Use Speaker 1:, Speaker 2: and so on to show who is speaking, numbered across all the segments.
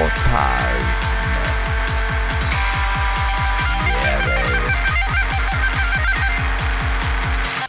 Speaker 1: O tarz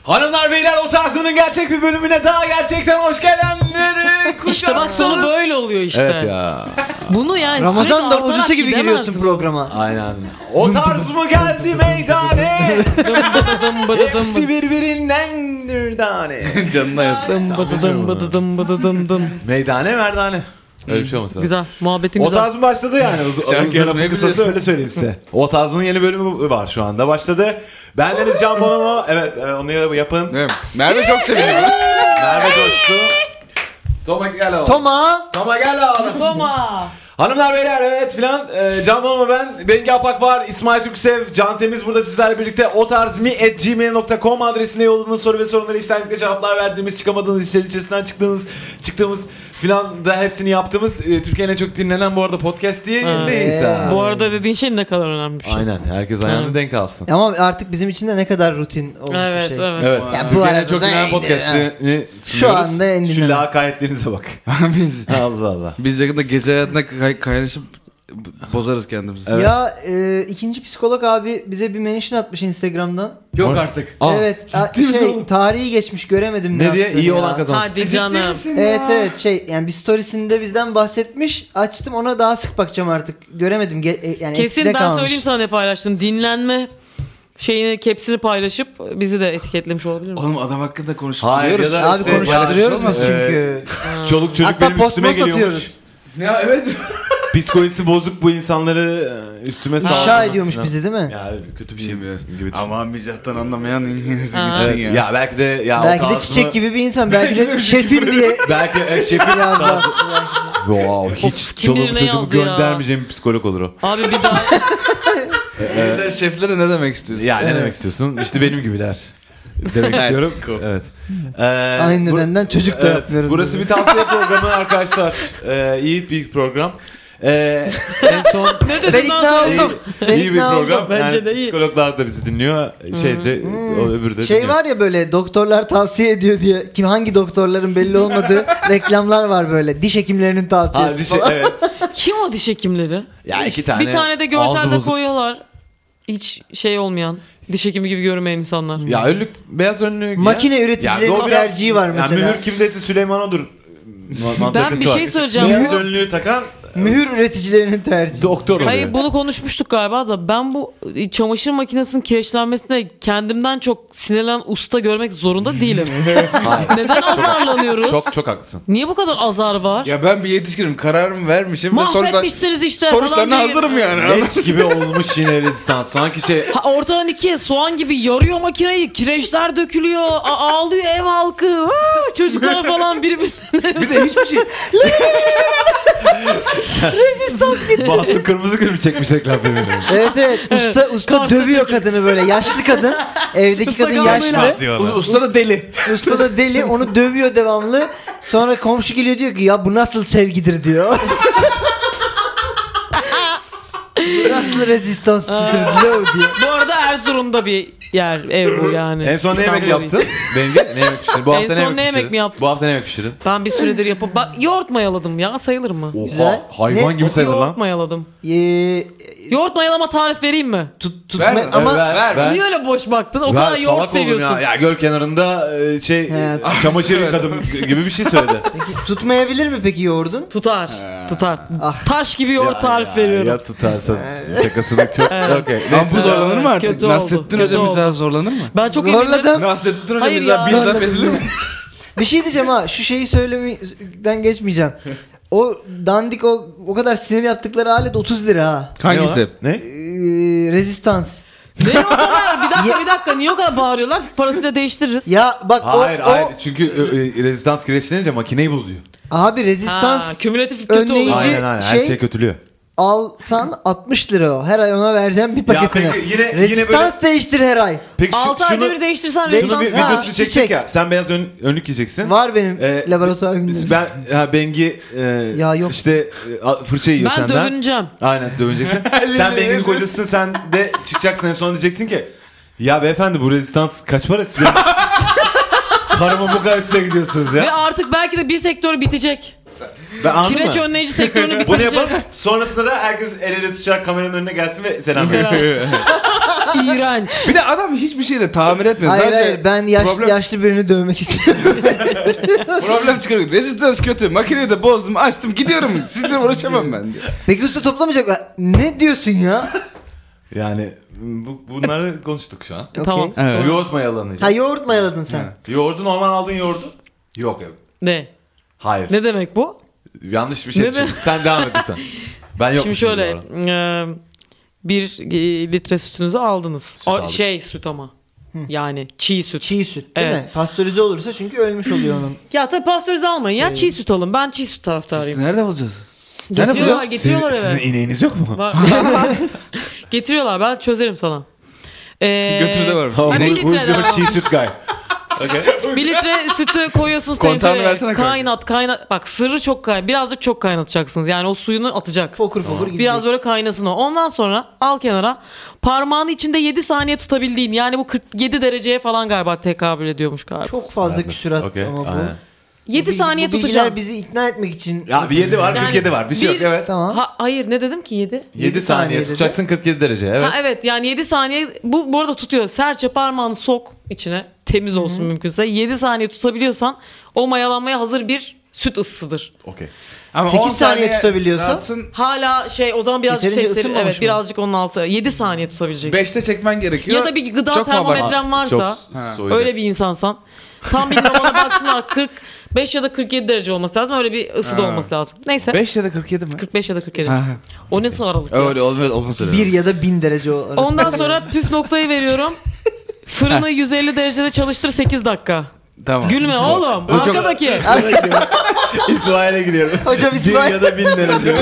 Speaker 2: Hanımlar beyler o tarzının gerçek bir bölümüne daha gerçekten hoş gelenleri kucağınız.
Speaker 3: İşte bak sana böyle oluyor işte.
Speaker 2: Evet ya.
Speaker 3: Bunu yani
Speaker 4: Ramazan
Speaker 3: sürekli
Speaker 4: davulcusu
Speaker 3: artarak
Speaker 4: gibi
Speaker 3: gidemez
Speaker 4: giriyorsun
Speaker 3: bu.
Speaker 4: programa.
Speaker 2: Aynen. O tarz mı geldi meydane?
Speaker 3: Dım bıdıdım bıdıdım
Speaker 2: Hepsi birbirinden bir tane.
Speaker 5: Canına yazık.
Speaker 3: dım bıdıdım bıdıdım bıdıdım dım.
Speaker 2: Meydane merdane. Öyle bir şey olmasa.
Speaker 3: Güzel. Muhabbetin
Speaker 2: O
Speaker 3: güzel.
Speaker 2: tarz mı başladı yani? Uz-
Speaker 5: Şarkı
Speaker 2: Uzun lafın
Speaker 5: yazmayı
Speaker 2: kısası
Speaker 5: biliyorsun.
Speaker 2: öyle söyleyeyim size. O tarzının yeni bölümü var şu anda. Başladı. Ben Deniz Can Bonomo. Evet e, onu yapın.
Speaker 5: Değil mi? Merve çok sevindi bunu.
Speaker 2: Merve Coştu.
Speaker 5: Toma gel oğlum.
Speaker 4: Toma.
Speaker 2: Ama gel oğlum.
Speaker 3: Toma.
Speaker 2: Hanımlar beyler evet filan e, Can Bonomo ben Bengi Apak var İsmail Türksev Can Temiz burada sizlerle birlikte o tarz mi at gmail.com adresine yolladığınız soru ve sorunları içtenlikle cevaplar verdiğimiz çıkamadığınız işlerin içerisinden çıktığınız çıktığımız filan da hepsini yaptığımız e, Türkiye'nin en çok dinlenen bu arada podcast diye
Speaker 3: Ha.
Speaker 2: yayındayız ha.
Speaker 3: Bu arada dediğin şey ne kadar önemli bir şey.
Speaker 2: Aynen herkes ayağını
Speaker 3: Ha.
Speaker 2: denk alsın.
Speaker 4: Ama artık bizim için de ne kadar rutin olmuş
Speaker 3: Evet,
Speaker 4: bir şey.
Speaker 3: evet.
Speaker 2: Evet.
Speaker 4: Ya bu
Speaker 2: Türkiye'nin
Speaker 4: arada
Speaker 2: çok
Speaker 4: da
Speaker 2: dinlenen
Speaker 4: en
Speaker 2: podcastini sunuyoruz.
Speaker 4: anda en
Speaker 2: Şu
Speaker 4: dinlenen.
Speaker 2: lakayetlerinize bak.
Speaker 5: biz,
Speaker 2: Allah Allah.
Speaker 5: biz yakında gece hayatına kay- kaynaşıp bozarız kendimizi.
Speaker 4: Ya e, ikinci psikolog abi bize bir mention atmış Instagram'dan.
Speaker 5: Yok artık.
Speaker 4: evet. a- şey tarihi geçmiş göremedim
Speaker 2: Ne diye
Speaker 4: yaptığını
Speaker 2: iyi
Speaker 4: ya.
Speaker 2: olan kazansın.
Speaker 3: Hadi canım.
Speaker 4: Evet evet şey yani bir storiesinde bizden bahsetmiş. Açtım ona daha sık bakacağım artık. Göremedim. Ge- e, yani
Speaker 3: Kesin
Speaker 4: eskide
Speaker 3: ben
Speaker 4: kalmış.
Speaker 3: söyleyeyim sana ne paylaştın. Dinlenme şeyini kepsini paylaşıp bizi de etiketlemiş olabilir mi?
Speaker 5: Oğlum adam hakkında konuşup
Speaker 2: Hayır,
Speaker 5: duruyoruz.
Speaker 2: ya da-
Speaker 4: Abi
Speaker 2: İşte
Speaker 4: konuşlandırıyoruz
Speaker 2: paylaşmış
Speaker 4: biz
Speaker 2: olmaz.
Speaker 4: çünkü.
Speaker 2: Çoluk çocuk
Speaker 4: Hatta
Speaker 2: benim üstüme
Speaker 4: postmos
Speaker 2: geliyormuş.
Speaker 4: atıyoruz.
Speaker 2: şey
Speaker 5: Ya evet.
Speaker 2: Psikolojisi bozuk bu insanları e, üstüme saldırması.
Speaker 4: İnşa ediyormuş
Speaker 2: falan.
Speaker 4: bizi değil mi?
Speaker 2: Ya evet, kötü bir şey gibi
Speaker 5: Bilmiyorum.
Speaker 2: düşün.
Speaker 5: Ama mizahtan anlamayan İngilizce
Speaker 3: Aa.
Speaker 5: gitsin
Speaker 2: Evet,
Speaker 5: ya.
Speaker 2: ya. belki de ya o
Speaker 4: belki de
Speaker 2: tarzını-
Speaker 4: çiçek gibi bir insan. Belki de şefim diye
Speaker 2: Belki e, şefin
Speaker 4: yazdı.
Speaker 2: wow, hiç
Speaker 3: Of, kim bilir
Speaker 2: çoluğumu
Speaker 3: ne
Speaker 2: çocuğumu
Speaker 3: yazdı ya.
Speaker 2: göndermeyeceğim bir psikolog olur o.
Speaker 3: Abi bir daha
Speaker 5: Sen şeflere ne demek istiyorsun?
Speaker 2: Ya ne demek istiyorsun? İşte benim gibiler. Demek istiyorum.
Speaker 5: Cool.
Speaker 2: Evet. Ee,
Speaker 4: Aynı
Speaker 2: bur-
Speaker 4: nedenden çocuk da
Speaker 2: Evet,
Speaker 4: yapmıyorum.
Speaker 2: Burası bir tavsiye programı arkadaşlar. Ee, iyi bir program. Ee, en son
Speaker 3: ne dedin
Speaker 4: Ben
Speaker 3: lan
Speaker 4: ikna
Speaker 3: sen?
Speaker 4: oldum. Ben
Speaker 2: iyi bir
Speaker 4: ikna oldum.
Speaker 2: program.
Speaker 3: Bence
Speaker 2: Yani
Speaker 3: de iyi.
Speaker 2: Psikologlar da bizi dinliyor. Şey de o öbürü de
Speaker 4: Şey
Speaker 2: dinliyor.
Speaker 4: var ya böyle doktorlar tavsiye ediyor diye kim hangi doktorların belli olmadığı reklamlar var böyle diş hekimlerinin tavsiyesi
Speaker 2: Ha, bir şey,
Speaker 4: falan.
Speaker 2: evet.
Speaker 3: Kim o diş hekimleri?
Speaker 2: Ya iki tane
Speaker 3: Bir tane de
Speaker 2: ağzı
Speaker 3: görsel de
Speaker 2: bozuk.
Speaker 3: koyuyorlar. Hiç şey olmayan, diş hekimi gibi görünmeyen insanlar.
Speaker 2: Ya önlük beyaz önlük.
Speaker 4: Makine
Speaker 2: Ya,
Speaker 4: üreticilerinin
Speaker 2: o biraz-
Speaker 4: tercihi var
Speaker 2: ya
Speaker 4: mesela.
Speaker 2: mühür kimdeyse Süleyman odur.
Speaker 3: ben bir şey söyleyeceğim.
Speaker 2: Beyaz
Speaker 3: Bu-
Speaker 2: önlüğü takan
Speaker 4: mühür üreticilerinin tercihi.
Speaker 2: doktor oluyor.
Speaker 3: Hayır bunu konuşmuştuk galiba da ben bu e, çamaşır makinesinin kireçlenmesine kendimden çok sinirlen usta görmek zorunda değilim. Neden azarlanıyoruz?
Speaker 2: Çok çok haklısın.
Speaker 3: Niye bu kadar azar var?
Speaker 5: Ya ben bir yetişkinim kararımı vermişim. ve sonuçlar-
Speaker 3: Mahvetmişsiniz işte falan
Speaker 5: sonuçlarına
Speaker 3: diye-
Speaker 5: hazırım yani.
Speaker 2: Leş gibi olmuş yine Hristiyan. Sanki şey
Speaker 3: Ha, ortadan ikiye soğan gibi yarıyor makineyi. Kireçler dökülüyor. a- ağlıyor ev halkı. Aa, çocuklar falan birbirine.
Speaker 5: bir de hiçbir şey.
Speaker 2: Basın kırmızı kırmızı çekmiş ekran filmini.
Speaker 4: Evet evet usta usta
Speaker 3: Karşı
Speaker 4: dövüyor kadını böyle yaşlı kadın evdeki kadın
Speaker 3: Sakalıyla.
Speaker 4: yaşlı
Speaker 5: Usta da deli.
Speaker 4: usta da deli onu dövüyor devamlı sonra komşu geliyor diyor ki ya bu nasıl sevgidir diyor. "Bu nasıl rezistansıdır diyor.
Speaker 3: Bu arada Erzurum'da bir yer ev bu yani.
Speaker 2: En son ne yemek
Speaker 3: İstanbul'da
Speaker 2: yaptın? Bengi ne yemek pişirdin? Bu
Speaker 3: En
Speaker 2: hafta ne
Speaker 3: son
Speaker 2: yemek
Speaker 3: ne yemek
Speaker 2: pişirdin?
Speaker 3: mi yaptın?
Speaker 2: Bu hafta ne yemek pişirdin?
Speaker 3: Ben bir süredir yapıp bak yoğurt mayaladım ya sayılır mı?
Speaker 2: Oha
Speaker 4: Güzel.
Speaker 2: hayvan
Speaker 4: Ne?
Speaker 2: gibi sayılır
Speaker 3: Yoğurt
Speaker 2: lan.
Speaker 3: mayaladım.
Speaker 4: Ee,
Speaker 3: Yoğurt mayalama tarif vereyim mi?
Speaker 4: tut, tut,
Speaker 5: Ver,
Speaker 4: ama
Speaker 2: ver, ver, ver.
Speaker 3: Niye öyle boş baktın? O
Speaker 2: Ben
Speaker 3: kadar
Speaker 2: salak
Speaker 3: yoğurt
Speaker 2: oldum
Speaker 3: seviyorsun.
Speaker 2: Ya. ya göl kenarında e, şey
Speaker 4: He.
Speaker 2: e, çamaşır yıkadım gibi bir şey söyledi.
Speaker 4: Peki, tutmayabilir mi peki yoğurdun?
Speaker 3: Tutar. Tutar.
Speaker 4: Ah.
Speaker 3: Taş gibi yoğurt tarif veriyorum.
Speaker 2: Ee. ya tutarsa şakasını çok okey.
Speaker 5: Lan bu
Speaker 3: Neyse.
Speaker 5: zorlanır mı artık?
Speaker 3: Kötü oldu.
Speaker 5: Nasrettin
Speaker 3: Kötü
Speaker 5: Hoca
Speaker 3: oldu.
Speaker 5: mizahı zorlanır mı?
Speaker 3: Ben çok
Speaker 4: Zorladım.
Speaker 5: Nasrettin Hoca
Speaker 3: Hayır ya.
Speaker 5: mizahı bir laf
Speaker 4: Zorladım.
Speaker 5: edilir mi?
Speaker 4: Bir şey diyeceğim ha şu şeyi söylemeden geçmeyeceğim. O dandik o o kadar sinir yaptıkları alet 30 lira ha.
Speaker 5: Hangisi?
Speaker 2: Ne?
Speaker 4: Ee, rezistans.
Speaker 3: Ne o kadar? Bir dakika bir dakika. Niye o kadar bağırıyorlar? Parasını da değiştiririz.
Speaker 4: Ya bak
Speaker 2: Hayır
Speaker 4: o,
Speaker 2: hayır
Speaker 4: o
Speaker 2: çünkü e, e, rezistans kireçlenince makineyi bozuyor.
Speaker 4: abi rezistans
Speaker 3: Ha, kümülatif kötü
Speaker 4: önleyici-
Speaker 3: olur.
Speaker 4: Hayır.
Speaker 2: Aynen aynen her
Speaker 4: şey-
Speaker 2: şey kötülüyor.
Speaker 4: alsan 60 lira o. Her ay ona vereceğim bir paketini.
Speaker 2: peki yine- yine
Speaker 4: rezistans değiştir her ay.
Speaker 2: Peki şu,
Speaker 3: 6 ayda
Speaker 2: şunu,
Speaker 3: bir değiştirsen
Speaker 2: şunu
Speaker 3: rezistans.
Speaker 2: bir
Speaker 4: Ha,
Speaker 2: videosunu çekecek
Speaker 4: çiçek.
Speaker 2: ya. Sen beyaz ön, önlük giyeceksin.
Speaker 4: Var benim
Speaker 2: Ee,
Speaker 4: laboratuvar
Speaker 2: Biz-
Speaker 4: günlerim.
Speaker 2: Ben ha Bengi e,
Speaker 4: Ya yok.
Speaker 2: işte e, a- fırça yiyor
Speaker 3: Ben
Speaker 2: senden.
Speaker 3: dövüneceğim.
Speaker 2: Aynen dövüneceksin. sen Bengi'nin kocasısın sen de çıkacaksın en son diyeceksin ki ya beyefendi bu rezistans kaç parası? Benim... Karıma bu kadar üstüne gidiyorsunuz
Speaker 3: Ve
Speaker 2: ya.
Speaker 3: artık belki de bir sektör bitecek.
Speaker 5: Ben anladın
Speaker 3: Kireç
Speaker 5: mı?
Speaker 3: önleyici sektörünü
Speaker 2: Bunu
Speaker 3: bitirecek.
Speaker 2: yapalım. Sonrasında da herkes el ele tutacak kameranın önüne gelsin ve selam
Speaker 3: Mesela-
Speaker 2: verin.
Speaker 3: İğrenç.
Speaker 5: Bir de adam hiçbir şey de tamir etmedi.
Speaker 4: Hayır
Speaker 5: Sadece
Speaker 4: hayır ben yaş-
Speaker 5: problem,
Speaker 4: yaşlı birini dövmek istiyorum.
Speaker 5: problem çıkarıyor. Rezistans kötü. Makineyi de bozdum açtım gidiyorum. Sizle uğraşamam ben diyor.
Speaker 4: Peki usta toplamayacak. Ne diyorsun ya?
Speaker 2: Yani bu, bunları konuştuk şu an.
Speaker 4: Okey.
Speaker 3: Tamam.
Speaker 5: Evet.
Speaker 2: Yoğurt mayalanacak.
Speaker 4: Ha yoğurt mayaladın sen.
Speaker 2: Yoğurdu normal aldığın yoğurdu. Yok evet.
Speaker 3: Ne?
Speaker 2: Hayır.
Speaker 3: Ne demek bu?
Speaker 2: Yanlış bir şey
Speaker 3: Ne
Speaker 2: düşündüm. Sen devam et lütfen. Ben yok.
Speaker 3: Şimdi şöyle e, bir e, litre sütünüzü aldınız. O,
Speaker 2: aldık.
Speaker 3: Şey süt ama. Yani çiğ süt.
Speaker 4: Çiğ süt değil
Speaker 3: Evet.
Speaker 4: mi? Pastörize olursa çünkü ölmüş oluyor onun.
Speaker 3: Ya tabii pastörize almayın ya çiğ süt alın. Ben çiğ süt taraftarıyım.
Speaker 5: Nerede bulacağız?
Speaker 3: Getiriyorlar, getiriyorlar
Speaker 2: Sizin
Speaker 3: eve.
Speaker 2: ineğiniz yok mu?
Speaker 3: Var- getiriyorlar ben çözerim sana. Ee,
Speaker 5: Götürü de var.
Speaker 3: ha,
Speaker 5: Bu-
Speaker 3: bir
Speaker 5: bu
Speaker 3: litre, daha-
Speaker 2: çiğ süt gay.
Speaker 3: bir litre sütü koyuyorsunuz
Speaker 5: Kontağını
Speaker 3: tencereye.
Speaker 5: versene kanka.
Speaker 3: Kaynat kaynat. Bak sırrı çok kaynat. Birazcık çok kaynatacaksınız. Yani o suyunu atacak.
Speaker 4: Fokur fokur gidecek.
Speaker 3: Biraz böyle kaynasın o. Ondan sonra al kenara. Parmağını içinde 7 saniye tutabildiğin. Yani bu 47 dereceye falan galiba tekabül ediyormuş galiba.
Speaker 4: Çok fazla küsurat
Speaker 2: Okey,
Speaker 4: ama bu.
Speaker 2: aynen.
Speaker 4: Bu
Speaker 3: 7
Speaker 4: bil-
Speaker 3: saniye
Speaker 4: bu bilgiler
Speaker 3: tutacağım.
Speaker 4: bizi ikna etmek için.
Speaker 2: Ya bir 7 var,
Speaker 3: Yani
Speaker 2: 47 var. Bir şey yok
Speaker 3: bir-
Speaker 2: evet.
Speaker 4: Tamam.
Speaker 3: Ha, hayır ne dedim ki 7?
Speaker 4: yedi
Speaker 2: 7 saniye
Speaker 4: saniyede
Speaker 2: tutacaksın 47 derece. Evet.
Speaker 3: Ha evet yani 7 saniye bu bu arada tutuyor. Serçe parmağını sok içine. Temiz olsun mümkünse. 7 saniye tutabiliyorsan o mayalanmaya hazır bir süt ısısıdır.
Speaker 2: Okey.
Speaker 5: Ama
Speaker 4: Sekiz
Speaker 5: 10
Speaker 4: saniye tutabiliyorsa-
Speaker 5: rahatsın.
Speaker 3: Hala şey o zaman birazcık
Speaker 4: Yeterince
Speaker 3: şey seri-
Speaker 4: ısınmamış
Speaker 3: evet
Speaker 4: mı?
Speaker 3: birazcık onun altı. 7 saniye tutabileceksin.
Speaker 5: Beşte çekmen gerekiyor.
Speaker 3: ya da bir gıda
Speaker 5: Çok mu abarttın?
Speaker 3: termometren varsa
Speaker 5: Ha.
Speaker 2: soğuyacak.
Speaker 3: öyle bir insansan tam bir lavana baksınlar 45 ya da 47 derece olması lazım. Öyle bir ısıda
Speaker 5: Ha.
Speaker 3: olması lazım. Neyse.
Speaker 5: 5 ya da 47 mi?
Speaker 3: 45 ya da 47.
Speaker 5: Ha.
Speaker 3: O nasıl aralık? ya?
Speaker 5: Öyle olmaz olmaz öyle.
Speaker 4: Bir ya da bin derece o arası.
Speaker 3: Ondan sonra püf noktayı veriyorum. Fırını 150 derecede çalıştır 8 dakika.
Speaker 5: Tamam.
Speaker 3: Gülme oğlum.
Speaker 5: Bu çok-
Speaker 3: Arkadaki.
Speaker 2: İsmail'e gidiyorum.
Speaker 4: Hocam
Speaker 2: Bir
Speaker 4: İsmail.
Speaker 2: ya da 1000 derece.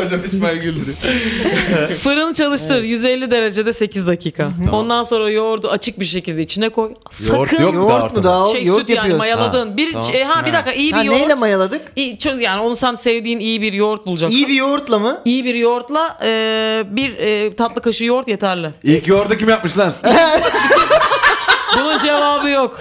Speaker 5: Hocam İsmail güldü.
Speaker 3: Fırını çalıştır 150 derecede 8 dakika. Ondan sonra yoğurdu açık bir şekilde içine koy.
Speaker 2: Yoğurt
Speaker 3: Sakın
Speaker 2: yok mu daha
Speaker 4: Yoğurt mu
Speaker 2: ortada?
Speaker 4: daha?
Speaker 3: şey
Speaker 4: yoğurt
Speaker 3: süt yani
Speaker 4: yapıyoruz.
Speaker 3: mayaladın. bir
Speaker 2: tamam.
Speaker 3: e, ha bir dakika iyi bir
Speaker 4: Ha,
Speaker 3: yoğurt.
Speaker 4: neyle mayaladık?
Speaker 3: İyi, çö- yani onu sen sevdiğin iyi bir yoğurt bulacaksın.
Speaker 4: İyi bir yoğurtla mı?
Speaker 3: İyi bir yoğurtla e, bir e, tatlı kaşığı yoğurt yeterli.
Speaker 2: İlk yoğurdu kim yapmış lan?
Speaker 3: Bunun cevabı yok.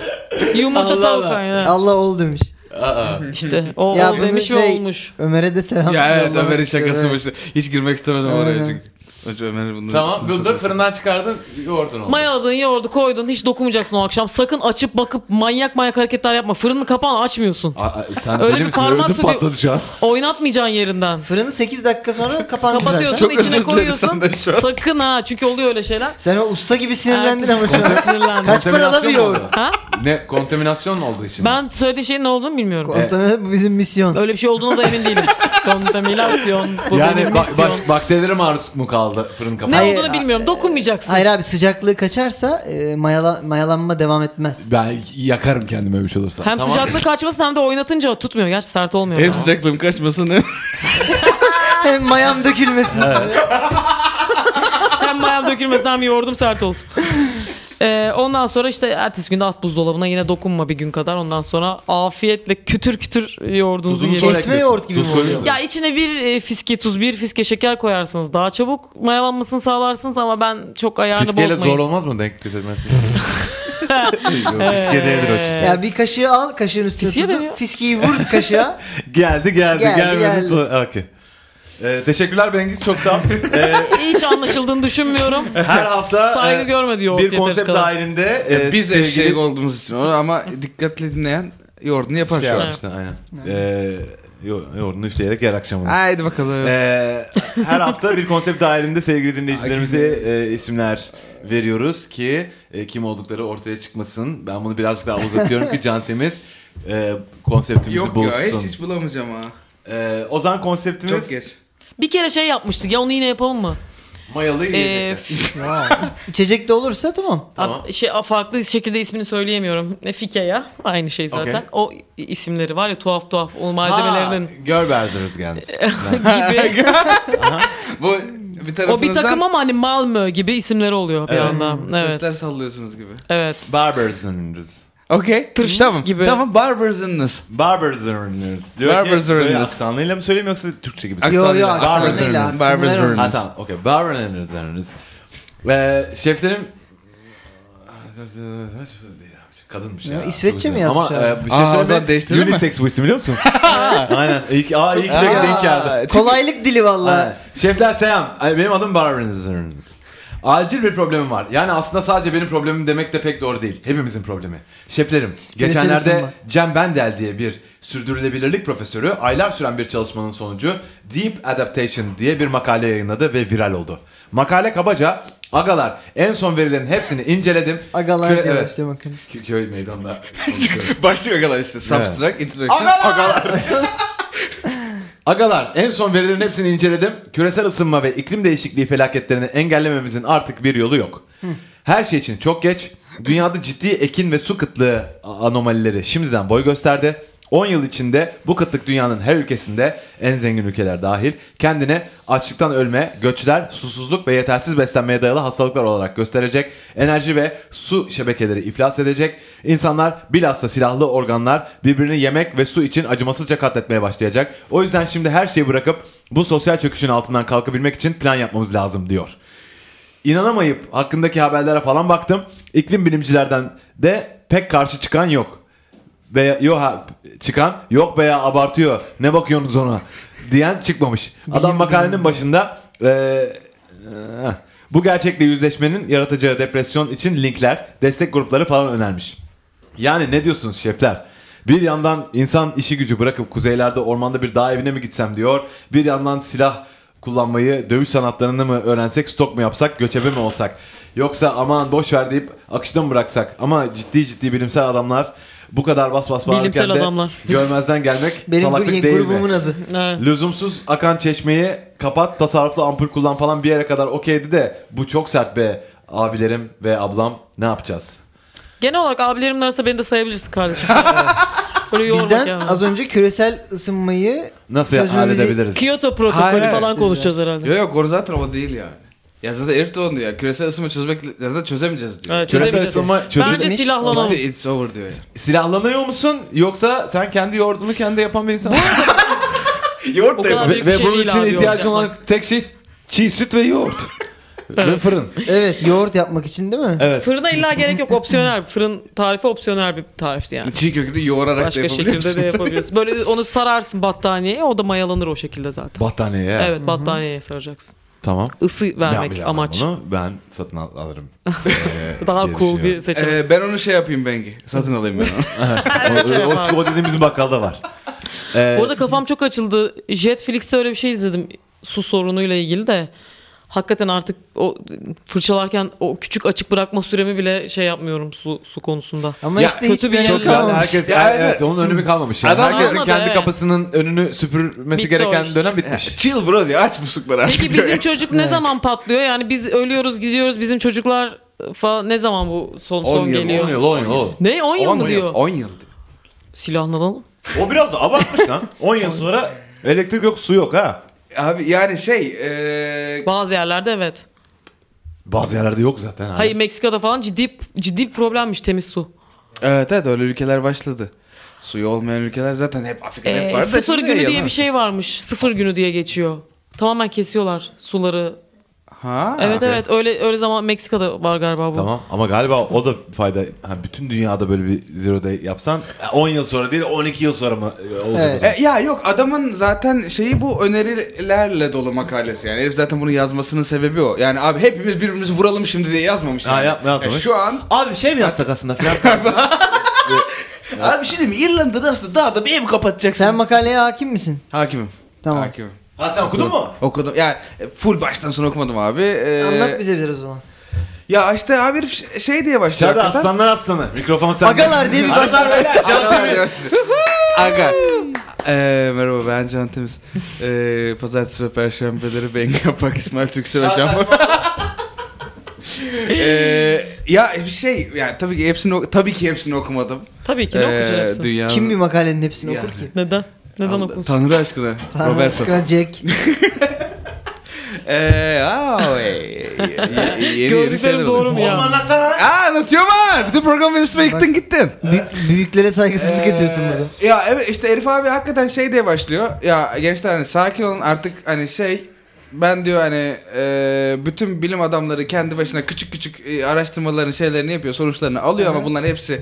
Speaker 3: Yumurta
Speaker 2: Allah
Speaker 3: tavuk
Speaker 2: Allah.
Speaker 3: aynen.
Speaker 4: Allah ol demiş.
Speaker 2: Aa.
Speaker 3: İşte o
Speaker 4: Ya
Speaker 3: ol
Speaker 4: bunu
Speaker 3: demiş ve
Speaker 4: şey-
Speaker 3: olmuş.
Speaker 4: Ömer'e de selam.
Speaker 5: Ya evet
Speaker 4: yollamak
Speaker 5: Ömer'in
Speaker 4: istiyorum,
Speaker 5: şakası
Speaker 4: evet.
Speaker 5: başladı. Hiç girmek istemedim oraya
Speaker 4: Aynen.
Speaker 5: çünkü. Hocam Ömer bunları
Speaker 2: Tamam, bunu da
Speaker 5: çok-
Speaker 2: fırından çıkardın, yoğurdun oldu.
Speaker 3: Mayaladın, yoğurdu koydun. Hiç dokunmayacaksın o akşam. Sakın açıp bakıp manyak manyak hareketler yapma. Fırını kapağını açmıyorsun.
Speaker 2: Aa, sen
Speaker 3: Öyle
Speaker 2: deli
Speaker 3: bir
Speaker 2: misin?
Speaker 3: parmak
Speaker 2: Ödüm
Speaker 3: sürüyor-
Speaker 2: patladı şu an.
Speaker 3: Oynatmayacaksın yerinden.
Speaker 4: Fırını 8 dakika sonra kapandı zaten.
Speaker 3: Kapatıyorsun,
Speaker 5: Çok özür
Speaker 3: içine
Speaker 5: dilerim
Speaker 3: koyuyorsun.
Speaker 5: senden şu an.
Speaker 3: Sakın ha. Çünkü oluyor öyle şeyler.
Speaker 4: Sen o usta gibi sinirlendin
Speaker 3: Ertesi-
Speaker 4: ama şu an.
Speaker 3: Sinirlendim.
Speaker 4: Kaç paralı bir yoğurt?
Speaker 3: Ha?
Speaker 2: Ne kontaminasyon mu olduğu için?
Speaker 3: Ben söylediği şeyin ne olduğunu bilmiyorum.
Speaker 4: Kontağına bu bizim misyon.
Speaker 3: Öyle bir şey olduğuna da emin değilim. Kontaminasyon. bu
Speaker 2: yani
Speaker 3: benim
Speaker 2: ba-
Speaker 3: misyon.
Speaker 2: baş- bakterilere maruz mu kaldı fırın kapağı?
Speaker 3: Ne
Speaker 4: Hayır,
Speaker 3: olduğunu
Speaker 4: a-
Speaker 3: bilmiyorum. Dokunmayacaksın.
Speaker 4: Hayır abi sıcaklığı kaçarsa e, mayala- mayalanma devam etmez.
Speaker 2: Ben yakarım kendimi öyle bir şey olursa.
Speaker 3: Hem sıcaklık kaçmasın hem de oynatınca tutmuyor. Gerçi sert olmuyor.
Speaker 5: Hem
Speaker 3: ama.
Speaker 5: sıcaklığım kaçmasın hem
Speaker 4: Hem mayam dökülmesin.
Speaker 3: hem mayam dökülmesin hem yoğurdum sert olsun. Ee, ondan sonra işte ertesi günde at buzdolabına yine dokunma bir gün kadar. Ondan sonra afiyetle kütür kütür yoğurdunuzu
Speaker 2: Tuzunu
Speaker 3: yiyin.
Speaker 2: koy-
Speaker 4: Kesme yoğurt gibi mi oluyor?
Speaker 3: Ya içine bir e, fiske tuz, bir fiske şeker koyarsanız daha çabuk mayalanmasını sağlarsınız ama ben çok ayarını
Speaker 2: Fiskeyle
Speaker 3: bozmayın.
Speaker 2: zor olmaz mı denk getirmesi?
Speaker 3: Fiske değildir
Speaker 4: Ya bir kaşığı al kaşığın üstüne
Speaker 3: Fiskiye
Speaker 4: tutup
Speaker 3: dönüyor.
Speaker 4: fiskiyi vur kaşığa.
Speaker 2: Geldi geldi,
Speaker 4: Geldi,
Speaker 2: gelmedi.
Speaker 4: geldi.
Speaker 2: sonra- Okey. Ee, teşekkürler Bengiz çok sağ ol. Ee,
Speaker 3: Hiç anlaşıldığını düşünmüyorum.
Speaker 2: her hafta
Speaker 3: Saygı
Speaker 2: e,
Speaker 3: görmedi yoğurt
Speaker 2: bir
Speaker 3: yeteri
Speaker 2: konsept
Speaker 3: kadar.
Speaker 2: dahilinde
Speaker 3: Ee,
Speaker 2: e,
Speaker 5: biz
Speaker 2: sevgili-
Speaker 5: eşek olduğumuz için onu ama dikkatli dinleyen yoğurdunu yapar
Speaker 2: şey
Speaker 5: şu an.
Speaker 2: yapmıştın, aynen. Ee, yo- yoğurdunu üfleyerek yer akşamını.
Speaker 5: Haydi bakalım.
Speaker 2: Ee, her hafta bir konsept dahilinde sevgili dinleyicilerimize e, isimler veriyoruz ki e, kim oldukları ortaya çıkmasın. Ben bunu birazcık daha uzatıyorum ki Can Temiz e, konseptimizi
Speaker 5: Yok ya hiç,
Speaker 2: bulsun.
Speaker 5: hiç bulamayacağım ha.
Speaker 2: E, Ozan konseptimiz
Speaker 5: Çok geç.
Speaker 3: Bir kere şey yapmıştık ya onu yine yapalım mı?
Speaker 2: mayalı
Speaker 3: Ee,
Speaker 2: yiyecekler.
Speaker 4: İçecek de olursa tamam.
Speaker 2: Tamam.
Speaker 3: Ad- şey farklı şekilde ismini söyleyemiyorum. E, Fike ya aynı şey zaten.
Speaker 2: Okey.
Speaker 3: O i- isimleri var ya tuhaf tuhaf o malzemelerinin
Speaker 2: Ha, Görberzer's geldi.
Speaker 3: gibi.
Speaker 5: Bu bir tarafınızdan
Speaker 3: o bir takım ama hani Malmö gibi isimleri oluyor bir
Speaker 2: Evet.
Speaker 3: anda. Evet.
Speaker 5: sesler sallıyorsunuz gibi.
Speaker 3: Evet.
Speaker 2: Barberzer's.
Speaker 5: Okey.
Speaker 3: Tırşıt
Speaker 5: Tamam.
Speaker 3: gibi.
Speaker 5: Tamam barbarsınız.
Speaker 2: Barberzer's. Diyor
Speaker 5: Barberzer's.
Speaker 2: ki böyle aksanıyla mı söyleyeyim yoksa Türkçe gibi
Speaker 5: Ak-
Speaker 2: mi?
Speaker 4: Yo yo
Speaker 5: Aksanıyla,
Speaker 4: aksanıyla.
Speaker 5: barbersörünüz.
Speaker 4: aksanıyla
Speaker 5: Barbersörünüz.
Speaker 4: olmaz.
Speaker 2: Ha tamam okey. Barberzer's. Ee, şeflerim Kadınmış
Speaker 4: Ya,
Speaker 2: ya.
Speaker 4: İsveççe mi
Speaker 2: Ama
Speaker 4: yazmış abi?
Speaker 2: e, bir şey
Speaker 5: Aa, o
Speaker 2: söyleyeyim
Speaker 5: zaman
Speaker 2: mi?
Speaker 5: değiştirelim mi?
Speaker 2: Unisex bu isim biliyor musunuz? Aynen. İyi ki, aa, iyi ki de
Speaker 5: Aa.
Speaker 2: denk geldi.
Speaker 4: Kolaylık dili
Speaker 2: Aynen.
Speaker 4: valla.
Speaker 2: Şefler selam. Ay, Benim adım Barbarınız. Acil bir problemim var. Yani aslında sadece benim problemim demek de pek doğru değil. Hepimizin problemi. Şeflerim, geçenlerde
Speaker 4: ısınma.
Speaker 2: Cem Bendel diye bir sürdürülebilirlik profesörü aylar süren bir çalışmanın sonucu Deep Adaptation diye bir makale yayınladı ve viral oldu. Makale kabaca Agalar en son verilerin hepsini inceledim.
Speaker 4: Agalar
Speaker 2: Köy-
Speaker 4: diye
Speaker 2: evet.
Speaker 4: başlıyor bakın.
Speaker 2: Kö- Köy meydanda.
Speaker 5: Başlık agalar işte. Substract, interaction.
Speaker 2: Agalar! Agalar, en son verilerin hepsini inceledim. Küresel ısınma ve iklim değişikliği felaketlerini engellememizin artık bir yolu yok. Her şey için çok geç. Dünyada ciddi ekin ve su kıtlığı anomalileri şimdiden boy gösterdi. 10 yıl içinde bu kıtlık dünyanın her ülkesinde en zengin ülkeler dahil kendine açlıktan ölme, göçler, susuzluk ve yetersiz beslenmeye dayalı hastalıklar olarak gösterecek. Enerji ve su şebekeleri iflas edecek. İnsanlar bilhassa silahlı organlar birbirini yemek ve su için acımasızca katletmeye başlayacak. O yüzden şimdi her şeyi bırakıp bu sosyal çöküşün altından kalkabilmek için plan yapmamız lazım diyor. İnanamayıp hakkındaki haberlere falan baktım. İklim bilimcilerden de pek karşı çıkan yok. Veya yok ha, çıkan yok veya abartıyor. Ne bakıyorsunuz ona? diyen çıkmamış. Adam makalenin başında eee, eh, bu gerçekle yüzleşmenin yaratacağı depresyon için linkler, destek grupları falan önermiş. Yani ne diyorsunuz şefler? Bir yandan insan işi gücü bırakıp kuzeylerde ormanda bir dağ evine mi gitsem diyor. Bir yandan silah kullanmayı, dövüş sanatlarını mı öğrensek, stok mu yapsak, göçebe mi olsak? Yoksa aman boş ver deyip akışına mı bıraksak? Ama ciddi ciddi bilimsel adamlar bu kadar bas bas bağırırken
Speaker 3: Bilimsel
Speaker 2: de
Speaker 3: adamlar.
Speaker 2: görmezden gelmek
Speaker 4: Benim bu
Speaker 2: salaklık
Speaker 4: yeni
Speaker 2: değil
Speaker 4: grubumun
Speaker 2: mi?
Speaker 4: adı.
Speaker 3: Evet.
Speaker 2: Lüzumsuz akan çeşmeyi kapat, tasarruflu ampul kullan falan bir yere kadar okeydi de bu çok sert be abilerim ve ablam ne yapacağız?
Speaker 3: Genel olarak abilerimin arasında beni de sayabilirsin kardeşim. Böyle yormak
Speaker 4: Bizden
Speaker 3: yani.
Speaker 4: az önce küresel ısınmayı
Speaker 2: Nasıl
Speaker 4: Çözmemizi-
Speaker 2: halledebiliriz?
Speaker 3: Kyoto
Speaker 5: Hayır,
Speaker 3: protokolü
Speaker 5: evet,
Speaker 3: falan
Speaker 4: işte
Speaker 3: konuşacağız herhalde.
Speaker 5: Yok yok o zaten o değil yani. Ya zaten herif de onu diyor. ya. Küresel ısınma çözmek ya zaten çözemeyeceğiz diyor.
Speaker 3: Evet,
Speaker 2: Küresel
Speaker 3: çözemeyeceğiz.
Speaker 2: ısınma
Speaker 3: Bence
Speaker 2: çözülmüş.
Speaker 3: silahlanalım.
Speaker 5: Bitti, It's over diyor yani.
Speaker 2: Silahlanıyor musun yoksa sen kendi yoğurdunu kendi yapan bir insan mısın?
Speaker 5: Yoğurt
Speaker 3: O
Speaker 5: da
Speaker 3: kadar
Speaker 5: yapıyor.
Speaker 2: ve,
Speaker 3: büyük
Speaker 2: ve
Speaker 3: şey
Speaker 2: bunun
Speaker 3: değil
Speaker 2: için
Speaker 3: abi
Speaker 2: ihtiyacın
Speaker 3: yoğurt
Speaker 2: olan tek şey çiğ süt ve yoğurt. ve fırın.
Speaker 4: evet yoğurt yapmak için değil mi?
Speaker 2: Evet.
Speaker 3: Fırına illa gerek yok. Opsiyonel. Fırın tarifi opsiyonel bir tarifti yani.
Speaker 5: Çiğ kökü de yoğurarak da
Speaker 3: Başka
Speaker 5: yapabiliyor
Speaker 3: şekilde de
Speaker 5: musun?
Speaker 3: yapabiliyorsun. Böyle onu sararsın battaniyeye. O da mayalanır o şekilde zaten.
Speaker 2: Battaniye. ya.
Speaker 3: Evet battaniyeye saracaksın.
Speaker 2: Tamam.
Speaker 3: Isı
Speaker 2: Ne
Speaker 3: vermek
Speaker 2: yapacağım ben
Speaker 3: amaç.
Speaker 2: bunu? Ben satın al- alırım.
Speaker 3: Daha
Speaker 2: diye
Speaker 3: cool bir
Speaker 2: düşünüyorum.
Speaker 3: seçenek.
Speaker 5: Ee, ben onu şey yapayım Bengi. Satın alayım ben onu.
Speaker 2: o, o, o dediğimiz bakkalda var.
Speaker 5: Ee,
Speaker 3: Bu arada kafam çok açıldı. Jetflix'te öyle bir şey izledim su sorunuyla ilgili de. Hakikaten artık o fırçalarken o küçük açık bırakma süremi bile şey yapmıyorum su su konusunda.
Speaker 4: Ama
Speaker 2: Ya,
Speaker 4: işte
Speaker 3: kötü
Speaker 4: hiç
Speaker 3: bir
Speaker 4: bir
Speaker 3: yer-
Speaker 2: Çok
Speaker 3: Çok
Speaker 2: güzel.
Speaker 3: kalmamış.
Speaker 2: Herkes
Speaker 5: Ya
Speaker 2: evet,
Speaker 5: evet.
Speaker 2: onun önü kalmamış. Yani.
Speaker 5: Adam
Speaker 2: Herkesin
Speaker 3: kalmadı,
Speaker 2: kendi
Speaker 3: evet.
Speaker 2: kapısının önünü süpürmesi
Speaker 3: Bitti
Speaker 2: gereken
Speaker 3: o iş.
Speaker 2: dönem bitmiş.
Speaker 5: Chill bro diyor. Aç muslukları artık.
Speaker 3: Peki
Speaker 5: diyor
Speaker 3: bizim
Speaker 5: ya.
Speaker 3: çocuk ne zaman patlıyor? Yani biz ölüyoruz gidiyoruz bizim çocuklar falan ne zaman bu son
Speaker 5: On
Speaker 3: son
Speaker 5: yıl,
Speaker 3: geliyor?
Speaker 5: on yıl.
Speaker 2: 10 yıl.
Speaker 3: Ne 10 yıl
Speaker 5: On
Speaker 3: mı diyor?
Speaker 5: 10 yıl diyor.
Speaker 3: Silahlanalım.
Speaker 2: O biraz da abartmış lan. 10 yıl sonra elektrik yok su yok ha.
Speaker 5: Abi yani şey eee
Speaker 3: Bazı yerlerde evet.
Speaker 2: Bazı yerlerde yok zaten.
Speaker 5: Hani-
Speaker 2: abi.
Speaker 3: Hayır Meksika'da falan ciddi ciddi bir problemmiş temiz su.
Speaker 5: Evet evet öyle ülkeler başladı. Suyu olmayan ülkeler zaten hep Afrika'da
Speaker 3: Ee,
Speaker 5: hep E, var da.
Speaker 3: sıfır
Speaker 5: şimdi
Speaker 3: günü diye
Speaker 5: yalan.
Speaker 3: bir şey varmış. Sıfır günü diye geçiyor. Tamamen kesiyorlar suları.
Speaker 5: Ha.
Speaker 3: evet evet öyle öyle zaman Meksika'da var galiba bu.
Speaker 2: Tamam ama galiba o da fayda. Ha, bütün dünyada böyle bir zero day yapsan 10 yıl sonra değil 12 yıl sonra mı e, olacak?
Speaker 4: Evet.
Speaker 2: o zaman?
Speaker 5: E, ya yok adamın zaten şeyi bu önerilerle dolu makalesi yani. Herif zaten bunu yazmasının sebebi o. Yani abi hepimiz birbirimizi vuralım şimdi diye yazmamış.
Speaker 2: Ha,
Speaker 5: yani.
Speaker 2: yapma, yazmamış.
Speaker 5: E, şu an
Speaker 2: Abi şey mi yapsak aslında filan?
Speaker 5: abi bir şey diyeyim mi? İrlanda'da aslında daha da bir ev kapatacaksın.
Speaker 4: Sen makaleye hakim misin?
Speaker 5: Hakimim.
Speaker 4: Tamam.
Speaker 5: Hakimim.
Speaker 2: ha sen okudun mu?
Speaker 5: Okudum. Yani e, full baştan sona okumadım abi. Ee,
Speaker 4: Anlat bize biraz o zaman.
Speaker 5: Ya işte abi herif ş- şey diye başlıyor.
Speaker 2: Dışarıda
Speaker 5: hakikaten.
Speaker 2: aslanlar aslanı. Mikrofon sende.
Speaker 4: Agalar diye bir
Speaker 2: Agalar beyler. Can Demir.
Speaker 5: Aga. Ee, merhaba ben Can Temiz. Ee, Pazartesi ve Perşembeleri Bengi Yapak, İsmail Türkse ve Can Ee, ya şey yani tabii ki hepsini ok- tabii ki hepsini okumadım.
Speaker 3: Tabii ki ne
Speaker 5: Ee,
Speaker 3: okuyacaksın?
Speaker 5: Dünyanın...
Speaker 4: Kim bir makalenin hepsini
Speaker 5: Ya.
Speaker 4: okur ki?
Speaker 3: Neden? Neden
Speaker 5: Allah-
Speaker 3: okunsun?
Speaker 5: Tanrı aşkına. Roberto.
Speaker 4: Tanrı Jack.
Speaker 5: Ee, aa, ey, ye- yeni yeni şeyler
Speaker 3: Gördüklerim doğru
Speaker 5: oluyor.
Speaker 3: mu ya?
Speaker 2: anlatsana.
Speaker 5: Aa anlatıyorum ha. Bütün program benim üstüme yıktın gittin.
Speaker 4: Büyük- büyüklere saygısızlık
Speaker 5: Ee,
Speaker 4: ediyorsun burada.
Speaker 5: Ya evet işte Elif abi hakikaten şey diye başlıyor. Ya gençler hani sakin olun artık hani şey ben diyor hani e, bütün bilim adamları kendi başına küçük küçük e, araştırmaların şeylerini yapıyor sonuçlarını alıyor ama bunların hepsi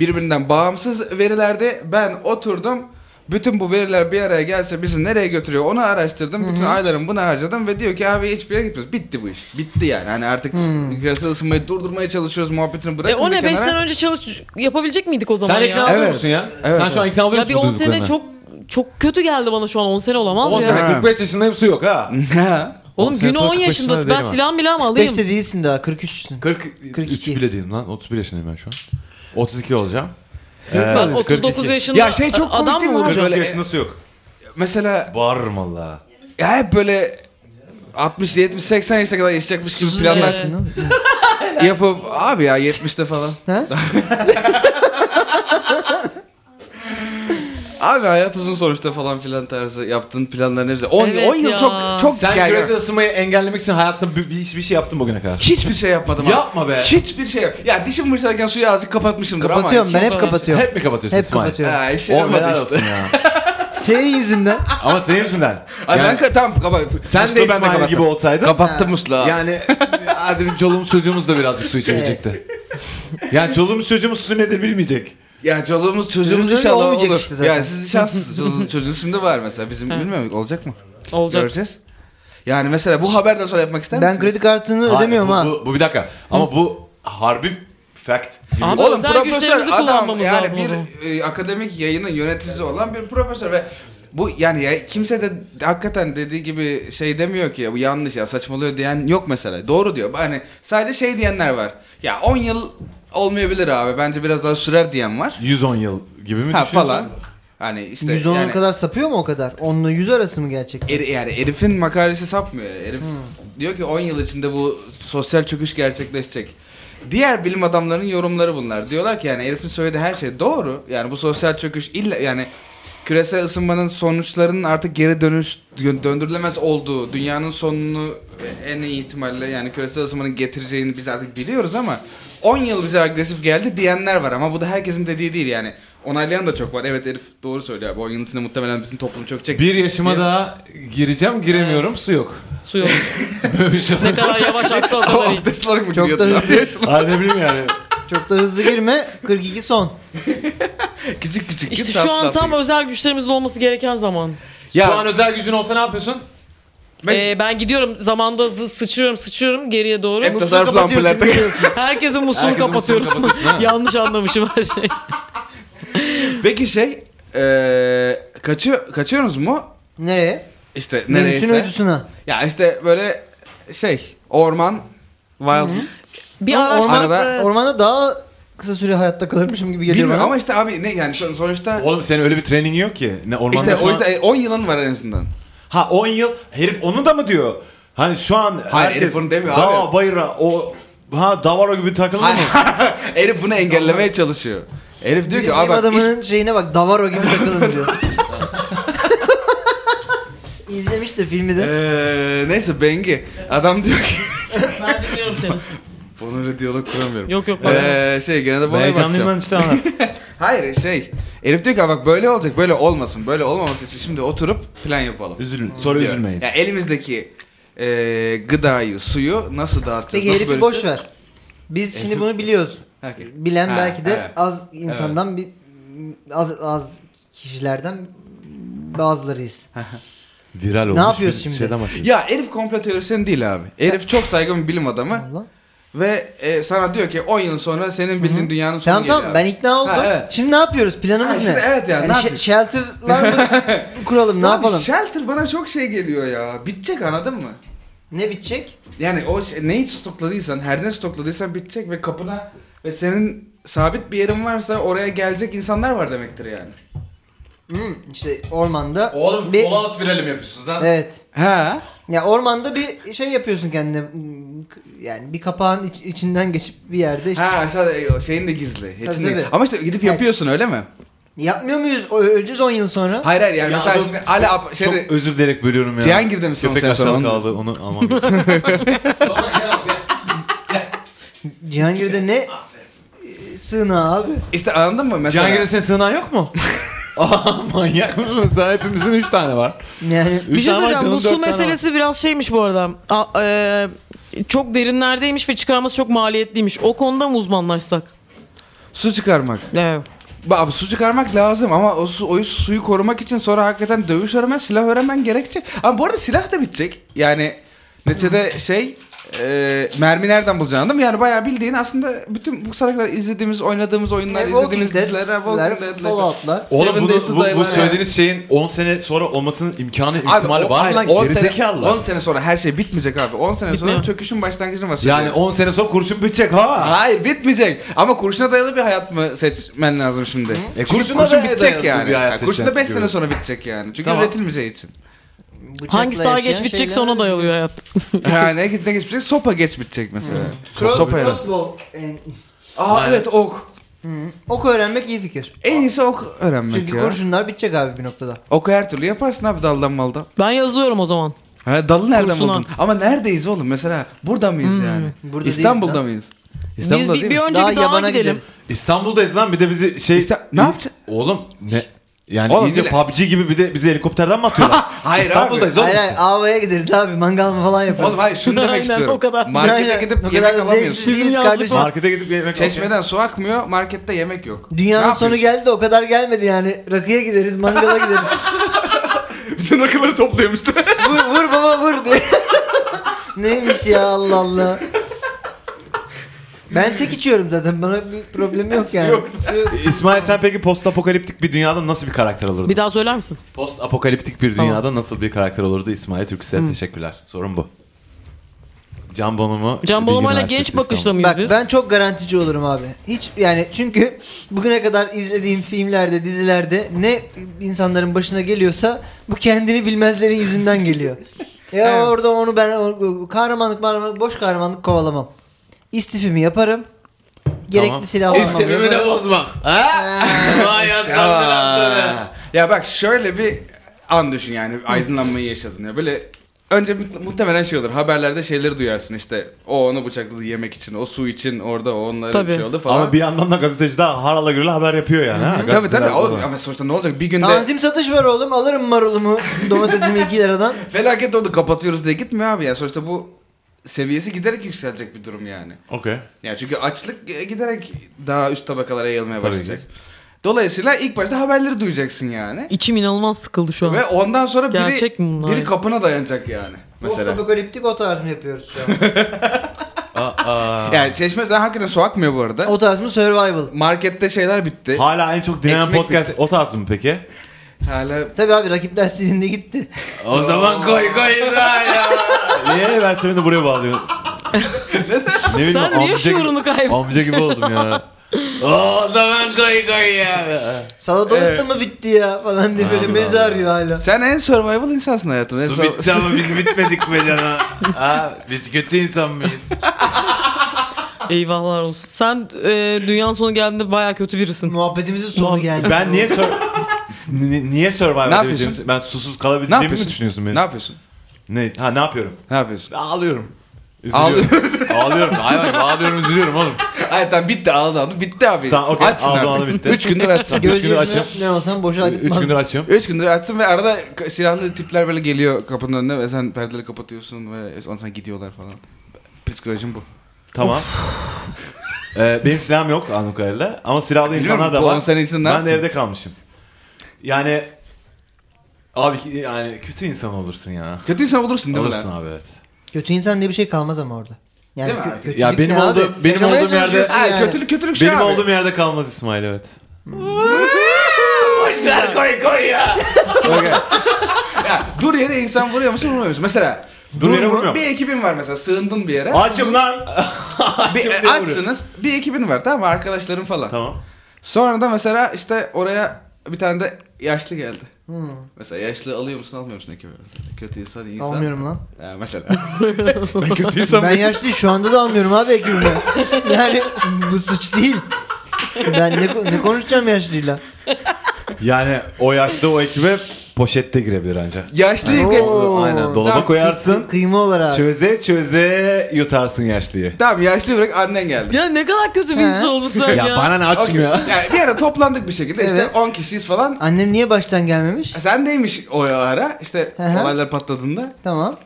Speaker 5: birbirinden bağımsız verilerde ben oturdum. Bütün bu veriler bir araya gelse bizi nereye götürüyor onu araştırdım. Bütün aylarımı buna harcadım ve diyor ki abi hiçbir yere gitmiyoruz. Bitti bu iş. Bitti yani. Hani artık küresel ısınmayı durdurmaya çalışıyoruz muhabbetini
Speaker 3: Hmm. E
Speaker 5: bırakın
Speaker 3: o
Speaker 5: bir
Speaker 3: ne 5
Speaker 5: kenara.
Speaker 3: sene önce çalış yapabilecek miydik o zaman
Speaker 2: Sen ikna
Speaker 3: ya?
Speaker 2: oluyor
Speaker 5: Evet.
Speaker 2: musun ya?
Speaker 5: Evet,
Speaker 2: Sen şu an ikna oluyor
Speaker 3: Ya bir
Speaker 2: musun
Speaker 3: 10
Speaker 2: bu
Speaker 3: sene
Speaker 2: duyduklarına?
Speaker 3: çok çok kötü geldi bana şu an 10 sene olamaz
Speaker 2: 10
Speaker 3: ya.
Speaker 2: sene
Speaker 5: Ha.
Speaker 2: 45 yaşındayım su yok ha.
Speaker 3: Oğlum
Speaker 2: sene
Speaker 3: günü
Speaker 2: sonra
Speaker 3: 10
Speaker 2: kırk yaşında
Speaker 3: yaşındasın.
Speaker 2: değilim
Speaker 3: Ben
Speaker 2: ha.
Speaker 3: silahımı milahımı alayım.
Speaker 4: 5'te değilsin daha 43'sün.
Speaker 2: 40,
Speaker 4: 42.
Speaker 2: 43 bile değilim lan. 31 yaşındayım ben şu an. 32 olacağım. Ee,
Speaker 3: Ben 39
Speaker 2: 42.
Speaker 3: yaşında
Speaker 5: Ya şey çok komik
Speaker 3: adam
Speaker 5: değil mi
Speaker 3: mı
Speaker 5: abi?
Speaker 3: olacak?
Speaker 2: 42
Speaker 5: Böyle-
Speaker 2: yaşında su yok.
Speaker 5: Mesela
Speaker 2: Bağırırım valla.
Speaker 5: ya hep böyle 60 70 80 yaşına kadar yaşayacakmış gibi
Speaker 3: Susuz
Speaker 5: planlar
Speaker 3: yaşa.
Speaker 4: Anlarsın oğlum.
Speaker 5: yapıp abi ya 70'te falan.
Speaker 4: Ha?
Speaker 5: Abi hayat uzun sonuçta falan filan tarzı yaptığın planların hepsi. 10
Speaker 3: Evet
Speaker 5: 10 yıl
Speaker 3: ya.
Speaker 5: çok çok
Speaker 2: Sen
Speaker 5: gel-
Speaker 2: küresel ısınmayı engellemek için hayatta bir, bir, hiçbir şey yaptın bugüne kadar.
Speaker 5: Hiçbir şey yapmadım abi.
Speaker 2: Yapma be.
Speaker 5: Hiçbir şey yap. Ya dişim fırçalarken suyu azıcık kapatmışımdır ama.
Speaker 4: Kapatıyorum ben hep
Speaker 3: Kapatıyorum.
Speaker 4: kapatıyorum.
Speaker 2: Hep mi kapatıyorsun
Speaker 4: Hep
Speaker 2: İsmail?
Speaker 4: kapatıyorum.
Speaker 5: Ha, işe
Speaker 2: Oğlum
Speaker 5: yaramadı
Speaker 2: helal
Speaker 5: işte.
Speaker 2: olsun ya.
Speaker 4: Senin yüzünden.
Speaker 2: Ama senin yüzünden.
Speaker 5: Ay
Speaker 2: Yani
Speaker 5: ben ka- tamam kapat.
Speaker 2: sen de İsmail gibi olsaydın.
Speaker 5: Kapattım musluğu. Yani
Speaker 2: Yani hadi bir çoluğumuz çocuğumuz da birazcık su içemeyecekti. yani çoluğumuz çocuğumuz su nedir bilmeyecek.
Speaker 5: ya çoluğumuz çocuğumuz
Speaker 4: Öyle
Speaker 5: inşallah
Speaker 4: olmayacak
Speaker 5: olur.
Speaker 4: işte zaten.
Speaker 5: Ya siz şanslısınız. Çoluğunuz çocuğunuz şimdi var mesela. Bizim
Speaker 3: Ha.
Speaker 5: bilmiyorum olacak mı?
Speaker 3: Olacak.
Speaker 5: Göreceğiz. Yani mesela bu haberden sonra yapmak ister
Speaker 4: Ben
Speaker 5: misiniz?
Speaker 4: kredi kartını
Speaker 2: Hayır,
Speaker 4: ödemiyorum
Speaker 2: bu,
Speaker 4: ha.
Speaker 2: Bu, bu bir dakika. Ama bu harbi fact. gibi.
Speaker 3: Abi-
Speaker 5: Oğlum
Speaker 3: Özel
Speaker 5: profesör
Speaker 3: güçlerimizi
Speaker 5: adam
Speaker 3: kullanmamız
Speaker 5: yani
Speaker 3: lazım o zaman.
Speaker 5: bir e, akademik yayının yöneticisi olan bir profesör ve bu yani ya, kimse de hakikaten dediği gibi şey demiyor ki ya bu yanlış ya saçmalıyor diyen yok mesela. Doğru diyor. Hani sadece şey diyenler var. Ya 10 yıl olmayabilir abi. Bence biraz daha sürer diyen var.
Speaker 2: 110 yıl gibi mi
Speaker 5: Ha
Speaker 2: düşünüyorsun?
Speaker 5: falan. Hani işte
Speaker 4: 110'a
Speaker 5: yani,
Speaker 4: kadar sapıyor mu o kadar? 10'la 100 arası mı gerçekten?
Speaker 5: Eri- yani Erif'in makalesi sapmıyor. Erif diyor ki 10 yıl içinde bu sosyal çöküş gerçekleşecek. Diğer bilim adamlarının yorumları bunlar. Diyorlar ki yani Erif'in söylediği her şey doğru. Yani bu sosyal çöküş illa yani küresel ısınmanın sonuçlarının artık geri dönüş dö- döndürülemez olduğu, dünyanın sonunu en iyi ihtimalle yani küresel ısınmanın getireceğini biz artık biliyoruz ama 10 yıl bize agresif geldi diyenler var ama bu da herkesin dediği değil yani. Onaylayan da çok var. Evet Erif doğru söylüyor. abi. 10 yıl içinde muhtemelen bütün toplum çökecek.
Speaker 2: Bir yaşıma
Speaker 5: diye.
Speaker 2: daha gireceğim giremiyorum su yok.
Speaker 3: Su yok.
Speaker 2: Böyle bir şey.
Speaker 3: ne kadar yavaş aksa o kadar iyi.
Speaker 5: Abdest olarak mı
Speaker 4: Çok
Speaker 5: giriyordun?
Speaker 4: da hızlı.
Speaker 2: Abi ne bileyim yani.
Speaker 4: Çok da hızlı girme. 42 son.
Speaker 5: küçük küçük.
Speaker 3: İşte
Speaker 5: tatlı
Speaker 3: şu an
Speaker 5: tatlı.
Speaker 3: tam özel güçlerimizin olması gereken zaman.
Speaker 5: Ya-
Speaker 2: Şu an özel gücün olsa ne yapıyorsun?
Speaker 5: Ben-
Speaker 3: Ben, Ee, ben gidiyorum zamanda zı- sıçrıyorum sıçrıyorum geriye doğru.
Speaker 5: Hep de
Speaker 3: Musluğu
Speaker 5: zarf
Speaker 3: kapatıyorum.
Speaker 5: lampeler
Speaker 3: Herkesin
Speaker 5: tak-
Speaker 3: musluğunu
Speaker 2: Herkesin musluğunu
Speaker 3: kapatıyorum.
Speaker 2: kapatıyorsun, ha?
Speaker 3: Yanlış anlamışım her şeyi.
Speaker 5: Peki şey, eee kaçıyor, kaçıyorsunuz mu?
Speaker 4: Nereye?
Speaker 5: İşte
Speaker 4: Nereye?
Speaker 5: nereyse.
Speaker 4: ödüsüne.
Speaker 5: Ya işte böyle şey, orman, wild.
Speaker 3: Bir
Speaker 4: Ama
Speaker 3: araç
Speaker 4: ormanda,
Speaker 5: Arada-
Speaker 4: ormanda daha kısa süre hayatta kalırmışım gibi geliyor
Speaker 5: Bilmiyorum
Speaker 4: bana.
Speaker 5: ama işte abi ne yani son- sonuçta
Speaker 2: Oğlum senin öyle bir treningin yok ki. Ne, ormanda
Speaker 5: işte
Speaker 2: şu
Speaker 5: o
Speaker 2: an-
Speaker 5: yüzden 10 yılın var en azından.
Speaker 2: Ha 10 yıl herif onu da mı diyor? Hani şu an
Speaker 5: herif onu demiyor
Speaker 2: dağ,
Speaker 5: abi.
Speaker 2: bayıra o ha davara gibi takılır mı?
Speaker 5: Herif bunu engellemeye çalışıyor. Herif diyor ki
Speaker 4: Bizim
Speaker 5: abi bak iş-
Speaker 4: adamın şeyine bak Davaro gibi takılın diyor. İzlemiş de filmi de.
Speaker 5: Eee, neyse Bengi. Adam diyor ki
Speaker 3: Ben dinliyorum seni.
Speaker 5: bunu öyle diyalog kuramıyorum.
Speaker 3: Yok yok. bana-
Speaker 5: Eee, şey gene de bana bakacağım.
Speaker 2: işte anlat.
Speaker 5: Hayır şey. Herif diyor ki "Aa bak böyle olacak böyle olmasın böyle olmaması için şimdi oturup plan yapalım.
Speaker 2: Üzülün. Sonra
Speaker 5: diyor.
Speaker 2: üzülmeyin.
Speaker 5: Ya elimizdeki e, gıdayı, suyu nasıl dağıtacağız?
Speaker 4: Peki
Speaker 5: nasıl
Speaker 4: herifi boş ver. Biz şimdi bunu biliyoruz.
Speaker 5: Herkes.
Speaker 4: Bilen
Speaker 5: Ha,
Speaker 4: belki de
Speaker 5: evet.
Speaker 4: az insandan bir az az kişilerden bazılarıyız.
Speaker 2: Viral olmuş.
Speaker 4: yapıyoruz
Speaker 2: bir
Speaker 4: şimdi?
Speaker 2: Şeyden bahsediyoruz.
Speaker 5: Ya herif komplo teorisyen değil abi. Herif çok saygın bir bilim adamı
Speaker 4: Allah.
Speaker 5: ve e, sana diyor ki 10 yıl sonra senin bildiğin dünyanın sonu
Speaker 4: Tamam
Speaker 5: geliyor
Speaker 4: tamam
Speaker 5: abi."
Speaker 4: ben ikna oldum.
Speaker 5: Ha, evet.
Speaker 4: Şimdi ne yapıyoruz? Planımız
Speaker 5: Ha,
Speaker 4: ne?
Speaker 5: şimdi evet yani, ne
Speaker 4: ş-
Speaker 5: yapacağız?
Speaker 4: Shelter'lar mı kuralım ne
Speaker 5: Abi,
Speaker 4: yapalım?
Speaker 5: Shelter bana çok şey geliyor ya. Bitecek anladın mı?
Speaker 4: Ne bitecek?
Speaker 5: Yani o şey, neyi stokladıysan, her ne stokladıysan bitecek ve kapına ve senin sabit bir yerin varsa oraya gelecek insanlar var demektir yani.
Speaker 4: Hmm, işte ormanda
Speaker 2: Oğlum
Speaker 4: bir...
Speaker 2: Fallout virali mi yapıyorsunuz lan?
Speaker 4: Evet.
Speaker 5: Ha?
Speaker 4: Ya ormanda bir şey yapıyorsun kendine. Hmm, Yani bir kapağın iç- içinden geçip bir yerde işte.
Speaker 5: Ha aşağıda e, o şeyin de gizli.
Speaker 4: Tabii,
Speaker 5: içinde-
Speaker 4: tabii.
Speaker 5: Ama işte gidip
Speaker 4: Evet.
Speaker 5: yapıyorsun öyle mi?
Speaker 4: Yapmıyor muyuz? Ö- Öleceğiz 10 yıl sonra.
Speaker 5: Hayır hayır yani
Speaker 2: Ya
Speaker 5: mesela
Speaker 2: dur,
Speaker 5: şimdi hala ap-
Speaker 2: Çok
Speaker 5: şeyde
Speaker 2: özür dileyerek bölüyorum ya.
Speaker 5: Cihangir'de misin
Speaker 2: Köpek
Speaker 5: sen
Speaker 2: aşağıda
Speaker 5: sonra?
Speaker 2: kaldı onu almam gerekiyor.
Speaker 4: Cihangir'de ne
Speaker 5: Ah,
Speaker 4: e, sığınağı abi?
Speaker 5: işte anladın mı mesela?
Speaker 2: Cihangir'de senin sığınağın yok mu? Aa manyak mısın sen? Hepimizin 3 tane var.
Speaker 4: Yani
Speaker 3: Bir
Speaker 2: Üç
Speaker 3: şey
Speaker 2: tane var,
Speaker 3: söyleyeceğim.
Speaker 2: canın
Speaker 3: Bu
Speaker 2: dört
Speaker 3: su
Speaker 2: tane var.
Speaker 3: meselesi biraz şeymiş bu arada. A- e, çok derinlerdeymiş ve çıkarması çok maliyetliymiş. O konuda mı uzmanlaşsak?
Speaker 5: Su çıkarmak.
Speaker 3: Evet.
Speaker 5: Ba- Abi su çıkarmak lazım ama o su, o suyu korumak için sonra hakikaten dövüş öğrenmen, silah öğrenmen gerekecek. Ama bu arada silah da bitecek. Yani neticede şey e, mermi nereden bulacaksın değil mi? Yani bayağı bildiğin aslında bütün bu sana kadar izlediğimiz, oynadığımız oyunlar, izlediğimiz diziler, Walking Dead'ler.
Speaker 4: Fallout'lar.
Speaker 2: Oğlum
Speaker 5: Seven
Speaker 2: bunu,
Speaker 5: Days to
Speaker 2: bu, bu
Speaker 5: Die var ya.
Speaker 2: söylediğiniz şeyin 10 sene sonra olmasının imkanı
Speaker 5: Abi,
Speaker 2: ihtimali
Speaker 5: o-
Speaker 2: var
Speaker 5: abi,
Speaker 2: lan
Speaker 5: 10 sene,
Speaker 2: gerizekalılar.
Speaker 5: 10 sene sonra her şey bitmeyecek abi. 10 sene
Speaker 3: Bitmiyor.
Speaker 5: sonra çöküşün başlangıcına başlıyor.
Speaker 2: Yani 10 sene sonra kurşun bitecek ha.
Speaker 5: Hayır bitmeyecek. Ama kurşuna dayalı bir hayat mı seçmen lazım şimdi? Çünkü
Speaker 2: E, kurşuna
Speaker 5: kurşun
Speaker 2: dayalı
Speaker 5: bitecek
Speaker 2: bir
Speaker 5: yani.
Speaker 2: hayat
Speaker 5: yani kurşun da
Speaker 2: seçeceğim
Speaker 5: 5 sene
Speaker 2: diyorum.
Speaker 5: sonra bitecek yani. Çünkü
Speaker 2: Tamam.
Speaker 5: üretilmeyeceği için.
Speaker 4: Bıçakla
Speaker 3: Hangisi daha geç
Speaker 4: yaşayan
Speaker 3: bitecekse
Speaker 4: şeyler-
Speaker 3: ona dayalı bir hayat.
Speaker 5: yani ne, ne geçmeyecek? Sopa geç bitecek mesela.
Speaker 4: Cross-
Speaker 5: Sopa evet.
Speaker 4: crossbow, en-
Speaker 5: Aa
Speaker 2: Aynen.
Speaker 5: evet ok.
Speaker 4: Ok öğrenmek iyi fikir.
Speaker 5: En iyisi ok öğrenmek
Speaker 4: Çünkü
Speaker 5: ya.
Speaker 4: kurşunlar bitecek abi bir noktada.
Speaker 5: Oku her türlü yaparsın abi daldan maldan.
Speaker 3: Ben yazılıyorum o zaman.
Speaker 5: Ha, dalı nereden
Speaker 3: Kursuna.
Speaker 5: buldun? Ama neredeyiz oğlum mesela? Burada mıyız
Speaker 3: Hmm.
Speaker 5: yani?
Speaker 4: Burada
Speaker 5: İstanbul'da
Speaker 4: değiliz
Speaker 5: mıyız?
Speaker 3: Biz bir, bir
Speaker 5: mi?
Speaker 3: önce bir dağa gidelim.
Speaker 4: gideriz.
Speaker 2: İstanbul'dayız lan bir de bizi şey...
Speaker 5: İsta- ne yapacağız?
Speaker 2: Oğlum ne? Yani
Speaker 5: Oğlum,
Speaker 2: iyice
Speaker 5: bile-
Speaker 2: PUBG gibi bir de bizi helikopterden mi atıyorlar?
Speaker 5: Hayır
Speaker 2: İstanbul'dayız oğlum.
Speaker 4: Hayır hayır avaya gideriz abi mangal falan yaparız.
Speaker 5: Oğlum hayır şunu
Speaker 3: Aynen,
Speaker 5: demek istiyorum.
Speaker 3: o kadar.
Speaker 5: Markete
Speaker 4: Aynen, o
Speaker 5: gidip
Speaker 4: kadar
Speaker 5: yemek
Speaker 4: zevksiz
Speaker 5: alamıyorsun.
Speaker 4: değiliz
Speaker 3: Bizim yazlık
Speaker 4: kardeşim.
Speaker 3: var.
Speaker 2: Markete gidip yemek
Speaker 5: Çeşmeden su akmıyor, markette yemek yok.
Speaker 4: Dünyanın
Speaker 5: Ne
Speaker 4: sonu
Speaker 5: yapıyorsun?
Speaker 4: geldi o kadar gelmedi yani. Rakıya gideriz mangala gideriz.
Speaker 5: Bütün rakıları topluyormuştu.
Speaker 4: vur, vur baba vur diye. Neymiş ya Allah Allah. Ben sek içiyorum zaten bana bir problem yok yani.
Speaker 5: Yok.
Speaker 2: İsmail sen peki post apokaliptik bir dünyada nasıl bir karakter olurdun?
Speaker 3: Bir daha söyler misin?
Speaker 2: Post apokaliptik bir
Speaker 3: Tamam.
Speaker 2: dünyada nasıl bir karakter olurdu İsmail Türksev? Teşekkürler. Sorun bu. Can Bonomo.
Speaker 3: Can
Speaker 2: Bilgi
Speaker 3: Bolumay'la
Speaker 2: Üniversitesi
Speaker 3: genç
Speaker 2: İstanbul.
Speaker 3: bakışla mıyız
Speaker 4: Bak
Speaker 3: biz?
Speaker 4: ben çok garantici olurum abi. Hiç yani çünkü bugüne kadar izlediğim filmlerde, dizilerde ne insanların başına geliyorsa bu kendini bilmezlerin yüzünden geliyor. ya
Speaker 5: Evet.
Speaker 4: orada onu ben o- kahramanlık kahramanlık boş kahramanlık kovalamam. İstifimi yaparım. Gerekli
Speaker 2: Tamam.
Speaker 4: silahı almam.
Speaker 3: de bozma. Vay
Speaker 5: ya bak şöyle bir an düşün yani aydınlanmayı yaşadın ya böyle önce mu- muhtemelen şey olur haberlerde şeyleri duyarsın işte o onu bıçakladı yemek için o su için orada o onların
Speaker 3: Tabii.
Speaker 5: şey oldu falan.
Speaker 2: Ama bir yandan da gazeteciler harala gürle haber yapıyor yani. ha,
Speaker 5: Tabii
Speaker 2: gazeteler
Speaker 5: tabii
Speaker 2: falan.
Speaker 5: oğlum, ama sonuçta ne olacak bir günde
Speaker 4: Tanzim satış var oğlum alırım marulumu domatesimi 2 liradan.
Speaker 5: felaket oldu kapatıyoruz diye gitmiyor abi ya sonuçta bu seviyesi giderek yükselecek bir durum yani.
Speaker 2: Okey.
Speaker 5: Ya çünkü açlık e, giderek daha üst tabakalara yayılmaya
Speaker 2: Tabii
Speaker 5: başlayacak. Dolayısıyla ilk başta haberleri duyacaksın yani.
Speaker 3: İçim inanılmaz sıkıldı şu an.
Speaker 5: Ve ondan sonra biri
Speaker 3: Gerçek mi bunlar?
Speaker 5: biri kapına dayanacak yani mesela.
Speaker 4: Postapokaliptik o tarz mı yapıyoruz şu an?
Speaker 5: Yani çeşme zaten hakikaten su akmıyor bu arada.
Speaker 4: o tarz mı survival?
Speaker 5: Markette şeyler bitti.
Speaker 2: Hala en çok dinlenen
Speaker 5: Ekmek
Speaker 2: podcast
Speaker 5: bitti.
Speaker 2: o tarz mı peki?
Speaker 5: Hala
Speaker 4: Tabii abi rakipler sizin de gitti.
Speaker 2: O zaman koy koy ya. Niye ben seni de buraya bağlıyorum? ne bileyim,
Speaker 3: Sen niye
Speaker 2: amca
Speaker 3: şuurunu
Speaker 2: gibi,
Speaker 3: kaybettin?
Speaker 2: amca gibi oldum ya. o zaman koy koy ya.
Speaker 4: Salatalık
Speaker 5: Evet.
Speaker 4: da mı bitti ya falan diye böyle meze arıyor hala.
Speaker 5: sen en survival insansın hayatında. En
Speaker 2: Su
Speaker 5: sur-
Speaker 2: bitti ama biz bitmedik be cana. Ha, biz kötü insan mıyız?
Speaker 3: Eyvahlar olsun. Sen e, dünyanın sonu geldiğinde baya kötü birisin.
Speaker 4: Muhabbetimizin sonu
Speaker 3: Lan,
Speaker 4: geldi.
Speaker 2: Ben niye sor... Ni- niye survive
Speaker 5: Ne
Speaker 2: edebileceğimi...
Speaker 5: yapıyorsun?
Speaker 2: Ben susuz
Speaker 5: ne
Speaker 2: kalabileceğimi mi
Speaker 5: yapıyorsun?
Speaker 2: düşünüyorsun beni?
Speaker 5: Ne yapıyorsun?
Speaker 2: Ne? Ha ne yapıyorum?
Speaker 5: Ne yapıyorsun?
Speaker 2: Ağlıyorum. Üzülüyorum. ağlıyorum. Hayır hayır, ağlıyorum üzülüyorum oğlum.
Speaker 5: Hayır tamam bitti ağladı ağladı bitti abi.
Speaker 2: Tamam, okey.
Speaker 5: Açsın
Speaker 2: Ağladı,
Speaker 5: artık.
Speaker 2: ağladı, bitti.
Speaker 5: Üç gündür açsın.
Speaker 4: Göz
Speaker 2: Üç gündür
Speaker 4: yüzüne
Speaker 2: açım.
Speaker 4: ne olsam boşa
Speaker 2: Üç
Speaker 4: gitmez.
Speaker 2: gündür açım.
Speaker 5: Üç gündür açsın ve arada k- silahlı tipler böyle geliyor kapının önüne ve sen perdeleri kapatıyorsun ve ondan sonra gidiyorlar falan. Psikolojim bu.
Speaker 2: Tamam. ee, benim silahım yok anladığım kadarıyla. Ama silahlı
Speaker 5: Biliyorum,
Speaker 2: insanlar da
Speaker 5: bu on
Speaker 2: var.
Speaker 5: sene içinde ne
Speaker 2: ben de
Speaker 5: yaptın?
Speaker 2: evde kalmışım. Yani... Abi ki- yani kötü insan olursun ya.
Speaker 5: Kötü insan olursun değil mi
Speaker 2: Olursun
Speaker 5: lan?
Speaker 2: abi evet.
Speaker 4: Kötü insan diye bir şey kalmaz ama orada. Yani
Speaker 5: Değil mi abi?
Speaker 4: kötülük
Speaker 2: Ya benim
Speaker 4: ne
Speaker 2: olduğum-
Speaker 4: abi?
Speaker 2: benim
Speaker 4: Yaşamaya
Speaker 2: olduğum yerde-
Speaker 4: çalışıyorsun
Speaker 5: Ha,
Speaker 4: yani.
Speaker 5: kötülük kötülük şey
Speaker 2: Benim
Speaker 5: abi.
Speaker 2: olduğum yerde kalmaz İsmail evet.
Speaker 5: Boşver koy koy ya. ya dur yere insan vuruyor musun vurmuyor musun? Mesela
Speaker 2: Dur yere
Speaker 5: mu-
Speaker 2: vurmuyorum.
Speaker 5: Bir ekibin var mesela sığındın bir yere.
Speaker 2: Açım lan!
Speaker 5: bir,
Speaker 2: diye
Speaker 5: e,
Speaker 2: vuruyor.
Speaker 5: açsınız bir ekibin var tamam mı arkadaşların falan.
Speaker 2: tamam.
Speaker 5: Sonra da mesela işte oraya bir tane de yaşlı geldi.
Speaker 4: Hmm,
Speaker 5: Mesela yaşlı alıyor musun almıyor musun ekibi? Mesela Kötü insan iyi insan.
Speaker 4: almıyorum lan.
Speaker 5: Ya mesela. ben kötü insan
Speaker 4: Ben
Speaker 5: mıyım?
Speaker 4: yaşlıyım şu anda da almıyorum abi ekibime. yani bu suç değil. Ben ne, ko- ne konuşacağım yaşlıyla?
Speaker 2: Yani o yaşta o ekibe poşette girebilir ancak.
Speaker 5: Yaşlıyım.
Speaker 4: Oo.
Speaker 5: geç-
Speaker 2: Aynen dolaba
Speaker 5: Tamam.
Speaker 2: koyarsın.
Speaker 4: Kıyma olarak.
Speaker 2: Çöze çöze yutarsın yaşlıyı.
Speaker 5: Tamam yaşlı bırak annen geldi.
Speaker 3: Ya ne kadar kötü bir
Speaker 4: He.
Speaker 3: insan oldun sen ya.
Speaker 2: ne
Speaker 5: Okey. Yani bir yere toplandık bir şekilde işte
Speaker 4: Evet.
Speaker 5: 10 kişiyiz falan. E,
Speaker 4: Annem niye baştan gelmemiş?
Speaker 5: Sen deymiş o ara işte
Speaker 4: Hı hı.
Speaker 5: olaylar patladığında.
Speaker 4: Tamam.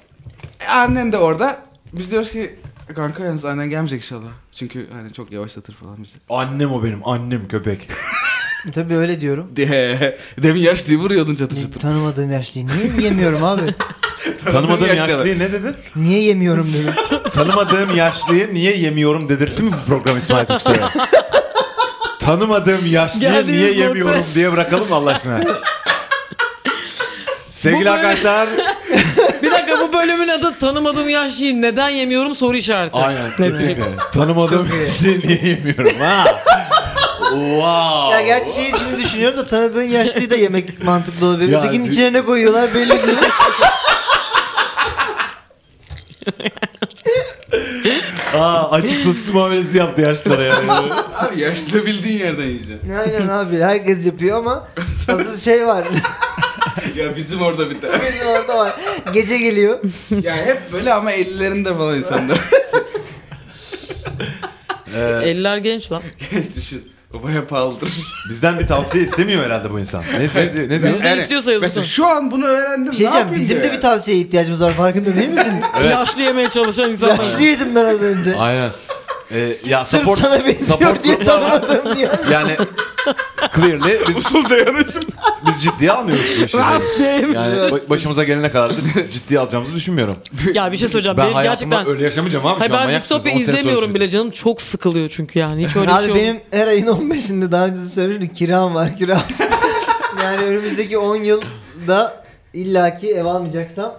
Speaker 5: E, Annen de orada. Biz diyoruz ki Kanka yalnız annen gelmeyecek inşallah. Çünkü hani çok yavaşlatır falan bizi.
Speaker 2: Annem o benim annem köpek.
Speaker 4: Tabii öyle diyorum.
Speaker 5: De, demin yaşlıyı vuruyordun çatır çatır.
Speaker 4: Tanımadığım yaşlıyı niye yemiyorum abi?
Speaker 2: Tanımadığım
Speaker 5: yaşlı.
Speaker 2: yaşlıyı ne dedin?
Speaker 4: Niye yemiyorum dedim.
Speaker 2: Tanımadığım yaşlıyı niye yemiyorum dedirttim mi bu program İsmail Türksel'e? Tanımadığım yaşlıyı
Speaker 3: Geldiğiniz
Speaker 2: niye
Speaker 3: nokta.
Speaker 2: yemiyorum diye bırakalım mı Allah aşkına?
Speaker 3: Bu
Speaker 2: Sevgili
Speaker 3: böyle-
Speaker 2: arkadaşlar
Speaker 3: Bir dakika bu bölümün adı tanımadığım yaşlıyı neden yemiyorum soru işareti.
Speaker 2: Aynen
Speaker 3: Net
Speaker 2: kesinlikle. Tanımadığım kişiyi niye yemiyorum ha? wow.
Speaker 4: ya gerçi şeyi şimdi düşünüyorum da tanıdığın yaşlıyı da yemek mantıklı olabilir.
Speaker 2: Ya
Speaker 4: Ötekinin
Speaker 2: dü-
Speaker 4: içine ne koyuyorlar belli değil.
Speaker 2: Aa, açık sosis muamelesi yaptı yaşlılara ya.
Speaker 5: Abi yaşlı bildiğin yerden yiyeceksin.
Speaker 4: Aynen abi herkes yapıyor ama asıl şey var.
Speaker 5: ya bizim orada bir tane.
Speaker 4: Bizim orada var. Gece geliyor. şey
Speaker 5: Ya hep böyle ama ellerinde falan insanlar.
Speaker 3: Eller genç lan.
Speaker 5: Geç düşün. O baya pahalıdır.
Speaker 2: Bizden bir tavsiye istemiyor herhalde bu insan. Ne, ne, ne, ne diyorsun?
Speaker 3: Bizden istiyorsa yazılsın.
Speaker 5: Mesela şu an bunu öğrendim.
Speaker 4: Bir şey diyeceğim
Speaker 5: ne yapayım
Speaker 4: bizim
Speaker 5: diyor
Speaker 4: de
Speaker 5: yani.
Speaker 4: bir tavsiye ihtiyacımız var farkında değil misin?
Speaker 2: Evet.
Speaker 3: Yaşlı yemeye çalışan insanlar.
Speaker 4: Yaşlıydım ben az önce.
Speaker 2: Aynen. Ee, ya
Speaker 4: Sırf
Speaker 2: support,
Speaker 4: sana benziyor
Speaker 2: support
Speaker 4: diye
Speaker 2: gruplar var.
Speaker 4: tanımadım diye.
Speaker 2: Yani clearly biz,
Speaker 5: Usulca yanaşım.
Speaker 2: biz ciddiye almıyoruz bu işi. Yani ba- başımıza gelene kadar da ciddiye alacağımızı düşünmüyorum.
Speaker 3: ya bir şey söyleyeceğim.
Speaker 2: Ben
Speaker 3: benim
Speaker 2: hayatımda
Speaker 3: gerçekten...
Speaker 2: öyle yaşamayacağım abi.
Speaker 3: Hayır
Speaker 2: şu an
Speaker 3: ben
Speaker 2: manyaksınız.
Speaker 3: distopya
Speaker 2: 10 sene
Speaker 3: izlemiyorum
Speaker 2: sonra-
Speaker 3: bile canım. Çok sıkılıyor çünkü yani. Hiç öyle bir
Speaker 4: Abi
Speaker 3: şey yok.
Speaker 4: benim her ayın 15'inde daha önce de söylemiştim kiram var kiram. yani önümüzdeki 10 yılda illaki ev almayacaksam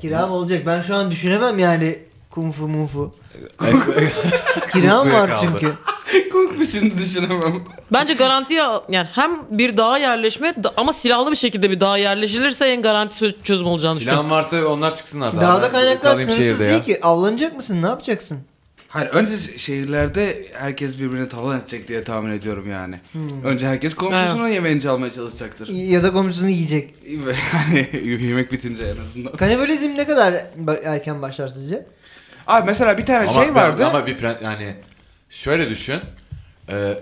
Speaker 4: kiram olacak. Ben şu an düşünemem yani kung fu munfu. Kiram
Speaker 2: Kung fu'ya
Speaker 4: var
Speaker 2: kaldı.
Speaker 4: çünkü.
Speaker 5: Korkmuşsun düşünemem.
Speaker 3: Bence garantiye al- yani hem bir dağa yerleşme da- ama silahlı bir şekilde bir dağa yerleşilirse en garanti çö- çözüm olacağını düşünüyorum.
Speaker 2: Silahın varsa onlar çıksınlar. daha.
Speaker 4: Dağda
Speaker 2: Ben
Speaker 4: kaynaklar
Speaker 2: kalayım
Speaker 4: sınırsız
Speaker 2: şehirde
Speaker 4: değil
Speaker 2: ya.
Speaker 4: ki. Avlanacak mısın? Ne yapacaksın?
Speaker 5: Hayır önce şehirlerde herkes birbirini tavan edecek diye tahmin ediyorum yani.
Speaker 4: Hmm.
Speaker 5: Önce herkes komşusunun yemeğini çalmaya çalışacaktır.
Speaker 4: Ya da komşusunu yiyecek.
Speaker 5: Ve Yani yemek bitince en azından.
Speaker 4: Kanibalizm ne kadar ba- erken başlar sizce?
Speaker 5: Abi mesela bir tane
Speaker 2: Ama
Speaker 5: şey vardı.
Speaker 2: Ama bir pre- yani şöyle düşün. Ee,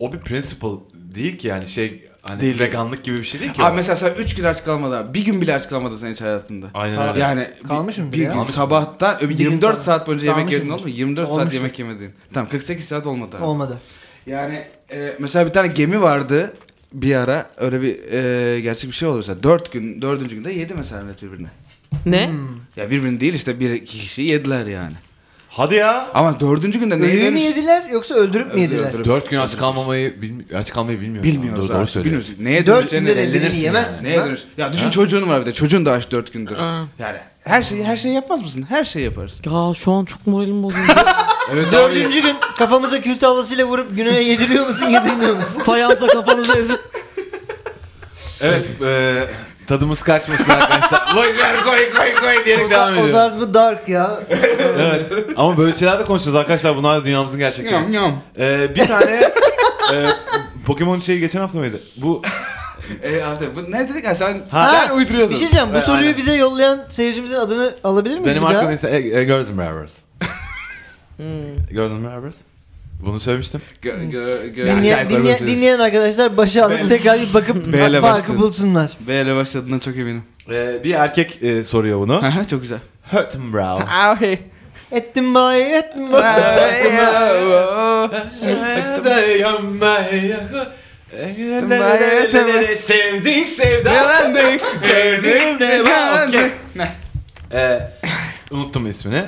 Speaker 2: o bir principle değil ki yani şey hani
Speaker 5: Değil.
Speaker 2: veganlık gibi bir şey değil ki.
Speaker 5: Abi
Speaker 2: o.
Speaker 5: mesela sen 3 gün aç kalmadan, bir gün bile aç kalmadan sen hiç hayatında.
Speaker 2: Aynen öyle.
Speaker 5: Yani
Speaker 4: Kalmış mı
Speaker 5: bir,
Speaker 4: bile
Speaker 5: bir
Speaker 4: ya?
Speaker 5: gün
Speaker 2: Kalmış mı?
Speaker 5: sabahtan ö,
Speaker 4: Bir gün
Speaker 5: 24
Speaker 4: kalmış.
Speaker 5: saat boyunca yemek
Speaker 4: Kalmış
Speaker 5: yedin
Speaker 4: mıdır?
Speaker 5: oldu mu? 24 saat
Speaker 4: Olmuştur.
Speaker 5: yemek yemedin. Tamam 48 saat olmadı abi.
Speaker 4: Olmadı.
Speaker 5: Yani e, mesela bir tane gemi vardı bir ara öyle bir e, gerçek bir şey oldu mesela 4 gün 4. günde yedi mesela millet birbirine.
Speaker 3: Ne?
Speaker 5: Ya birbirini değil işte bir iki kişi yediler yani.
Speaker 2: Hadi ya.
Speaker 5: Ama dördüncü günde neye
Speaker 4: Ölüyü mü
Speaker 5: dönüş?
Speaker 4: yediler yoksa öldürüp mü
Speaker 5: Öldü-
Speaker 4: yediler?
Speaker 5: öldürüp-
Speaker 2: Dört gün aç kalmamayı bilmi- aç kalmayı bilmiyoruz.
Speaker 5: Bilmiyoruz
Speaker 2: doğru, doğru
Speaker 5: abi.
Speaker 2: söylüyorsun.
Speaker 5: Bilmiyoruz. Neye
Speaker 4: Dört
Speaker 5: dönüşeceğini
Speaker 4: günde dediğini
Speaker 5: ellenirsin
Speaker 4: yemezsin
Speaker 5: yani. Neye
Speaker 4: lan.
Speaker 5: dönüş? Ya düşün çocuğun var bir de. Çocuğun da aç dört gündür.
Speaker 3: Aa.
Speaker 5: Yani her şeyi her şeyi yapmaz mısın? Her şeyi yaparsın.
Speaker 3: Ya şu an çok moralim bozuldu.
Speaker 2: Evet abi.
Speaker 4: Dördüncü gün kafamıza kül tavlasıyla vurup güneye yediriyor musun yedirmiyor musun?
Speaker 3: Fayansla kafanızı ezip
Speaker 2: Evet. e, tadımız kaçmasın arkadaşlar. Vay ver koy koy koy diyerek devam
Speaker 4: o
Speaker 2: ediyoruz.
Speaker 4: tarz bu dark ya.
Speaker 2: Evet. Ama böyle şeyler de konuşacağız arkadaşlar. Bunlar da dünyamızın gerçekleri.
Speaker 5: yam.
Speaker 2: E, bir tane e, Pokemon şeyi geçen hafta mıydı? Bu
Speaker 5: E abi bu ne dedik ya sen
Speaker 2: Ha.
Speaker 5: sen uyduruyordun.
Speaker 4: Bir şey diyeceğim bu
Speaker 2: Evet,
Speaker 4: soruyu
Speaker 2: aynen.
Speaker 4: bize yollayan seyircimizin adını alabilir miyiz
Speaker 2: Benim
Speaker 4: bir Hmm. daha?
Speaker 2: aklımda ise e, e, Girls and Bravers. Girls and Bravers. Bunu söylemiştim.
Speaker 5: Gö- gö- gö-
Speaker 4: Dinleyen,
Speaker 5: Aşağı yukarı
Speaker 4: dinleyen,
Speaker 5: böyle-
Speaker 4: dinleyen arkadaşlar başa alıp
Speaker 5: Ben-
Speaker 4: tekrar bir bakıp
Speaker 5: Beyle
Speaker 4: farkı
Speaker 5: başladım.
Speaker 4: bulsunlar.
Speaker 5: Böyle başladığından çok eminim.
Speaker 2: Ee, bir erkek e, soruyor bunu.
Speaker 5: Aha, çok güzel.
Speaker 2: Hurtenbrow.
Speaker 5: Abi.
Speaker 4: Ettim bayi ettim bayi.
Speaker 2: Sevdik sevda.
Speaker 5: Yalandık.
Speaker 2: Sevdim ne var? Okey.
Speaker 5: Yalandık.
Speaker 2: Ee, unuttum ismini.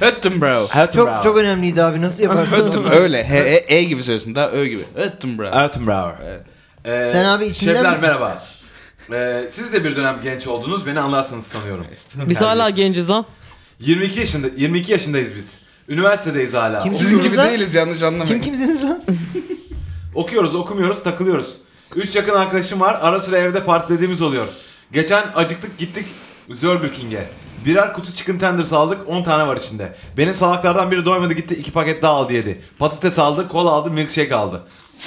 Speaker 5: Öttüm bro.
Speaker 4: çok çok önemliydi abi nasıl yaparsın?
Speaker 5: Öttüm öyle. He, e, e gibi söylüyorsun. Daha ö gibi. Öttüm bro.
Speaker 2: Hurtenbrower. Ee,
Speaker 4: Sen abi içinden
Speaker 2: şefler,
Speaker 4: misin?
Speaker 2: merhaba. Ee, siz de bir dönem genç oldunuz. Beni anlarsınız sanıyorum.
Speaker 3: biz hala genciz lan.
Speaker 2: 22 yaşında 22 yaşındayız biz. Üniversitedeyiz hala.
Speaker 4: Kim-
Speaker 2: Siz-
Speaker 5: Sizin gibi
Speaker 4: Oğuzlar-
Speaker 5: değiliz yanlış anlamayın.
Speaker 4: Kim kimsiniz lan?
Speaker 2: Okuyoruz, okumuyoruz, takılıyoruz. Üç yakın arkadaşım var. Ara sıra evde partilediğimiz oluyor. Geçen acıktık gittik Burger King'e. Birer kutu chicken tenders aldık. 10 tane var içinde. Benim salaklardan biri doymadı gitti. iki paket daha aldı yedi. Patates aldı, kola aldı, milkshake aldı.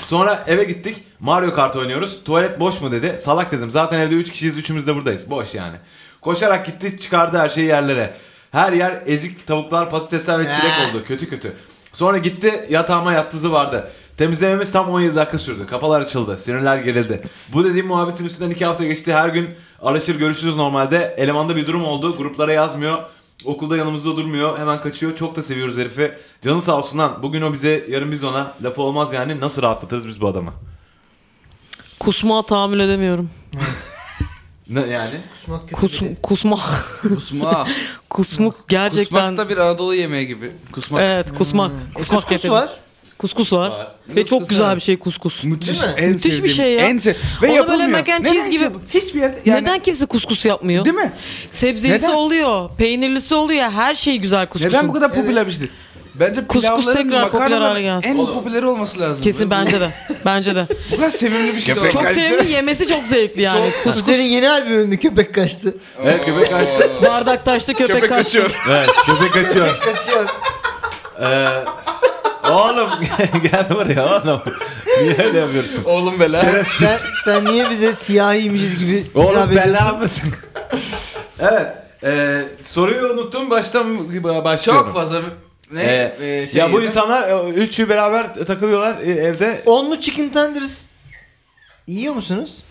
Speaker 2: Sonra eve gittik. Mario Kart oynuyoruz. Tuvalet boş mu dedi. Salak dedim. Zaten evde 3 kişiyiz. Üçümüz de buradayız. Boş yani. Koşarak gitti. Çıkardı her şeyi yerlere. Her yer ezik tavuklar, patatesler ve çilek
Speaker 4: Ah.
Speaker 2: oldu oldu. Kötü kötü. Sonra gitti yatağıma yattızı vardı. Temizlememiz tam 17 dakika sürdü. Kafalar açıldı. Sinirler gerildi. Bu dediğim muhabbetin üstünden 2 hafta geçti. Her gün araşır görüşürüz normalde. Elemanda bir durum oldu. Gruplara yazmıyor. Okulda yanımızda durmuyor. Hemen kaçıyor. Çok da seviyoruz herifi. Canı sağ olsun lan. Bugün o bize yarın biz ona. Lafı olmaz yani. Nasıl rahatlatırız biz bu adamı?
Speaker 3: Kusma tahammül edemiyorum.
Speaker 2: Ne yani?
Speaker 4: Kusmak kötü.
Speaker 3: Kus,
Speaker 4: bir-
Speaker 3: kusmak.
Speaker 5: Kusma.
Speaker 3: Kusmuk gerçekten.
Speaker 5: Kusmak da bir Anadolu yemeği gibi. Kusmak. Hmm.
Speaker 3: Evet kusmak. Kusmak
Speaker 4: Kuskus
Speaker 3: yapıyorum.
Speaker 4: var.
Speaker 3: Kuskus var.
Speaker 2: Var.
Speaker 3: Ve çok
Speaker 5: Kuskus,
Speaker 3: güzel
Speaker 5: evet.
Speaker 3: bir şey kuskus.
Speaker 5: Müthiş.
Speaker 4: Değil mi?
Speaker 5: En
Speaker 3: Müthiş bir
Speaker 5: sevdiğim.
Speaker 3: şey ya.
Speaker 5: En se- Ve
Speaker 3: Onu böyle
Speaker 5: yapılmıyor.
Speaker 3: mac and
Speaker 5: Neden
Speaker 3: cheese gibi-
Speaker 5: yapıl- Hiçbir yerde. Yani,
Speaker 3: Neden kimse kuskus yapmıyor?
Speaker 5: Değil mi?
Speaker 3: Sebzelisi
Speaker 5: Neden?
Speaker 3: oluyor, peynirlisi oluyor, her şey güzel kuskusun.
Speaker 5: Neden bu kadar popüler bir şey değil? Bence
Speaker 3: Kuskus
Speaker 5: pilavların,
Speaker 3: tekrar popüler
Speaker 5: makarnaların
Speaker 3: hale gelsin.
Speaker 5: En
Speaker 2: Oğlum.
Speaker 5: popüleri olması lazım.
Speaker 3: Kesin
Speaker 5: Böyle şey.
Speaker 3: bence de. Bence de.
Speaker 5: Bu kadar sevimli bir şey. de
Speaker 2: Köpek
Speaker 5: olmaz.
Speaker 3: çok sevimli yemesi çok zevkli yani.
Speaker 4: Kuskus. Senin yeni albümünde köpek kaçtı.
Speaker 2: Evet köpek kaçtı.
Speaker 3: Bardak taşta köpek,
Speaker 5: Köpek
Speaker 3: kaçtı.
Speaker 5: kaçıyor.
Speaker 2: evet köpek kaçıyor.
Speaker 4: Kaçıyor.
Speaker 2: Ee, oğlum gel buraya oğlum. Niye öyle yapıyorsun?
Speaker 5: Oğlum bela.
Speaker 4: sen, sen niye bize siyahiymişiz gibi hitap
Speaker 2: Oğlum bela
Speaker 4: ediyorsun?
Speaker 2: mısın? evet. e, soruyu unuttum. Baştan başlıyorum.
Speaker 5: Çok fazla ne
Speaker 2: Ee,
Speaker 5: e, şey
Speaker 2: ya bu
Speaker 5: yedim.
Speaker 2: insanlar e, üçü beraber takılıyorlar e, evde.
Speaker 4: Onlu chicken tenders yiyor musunuz?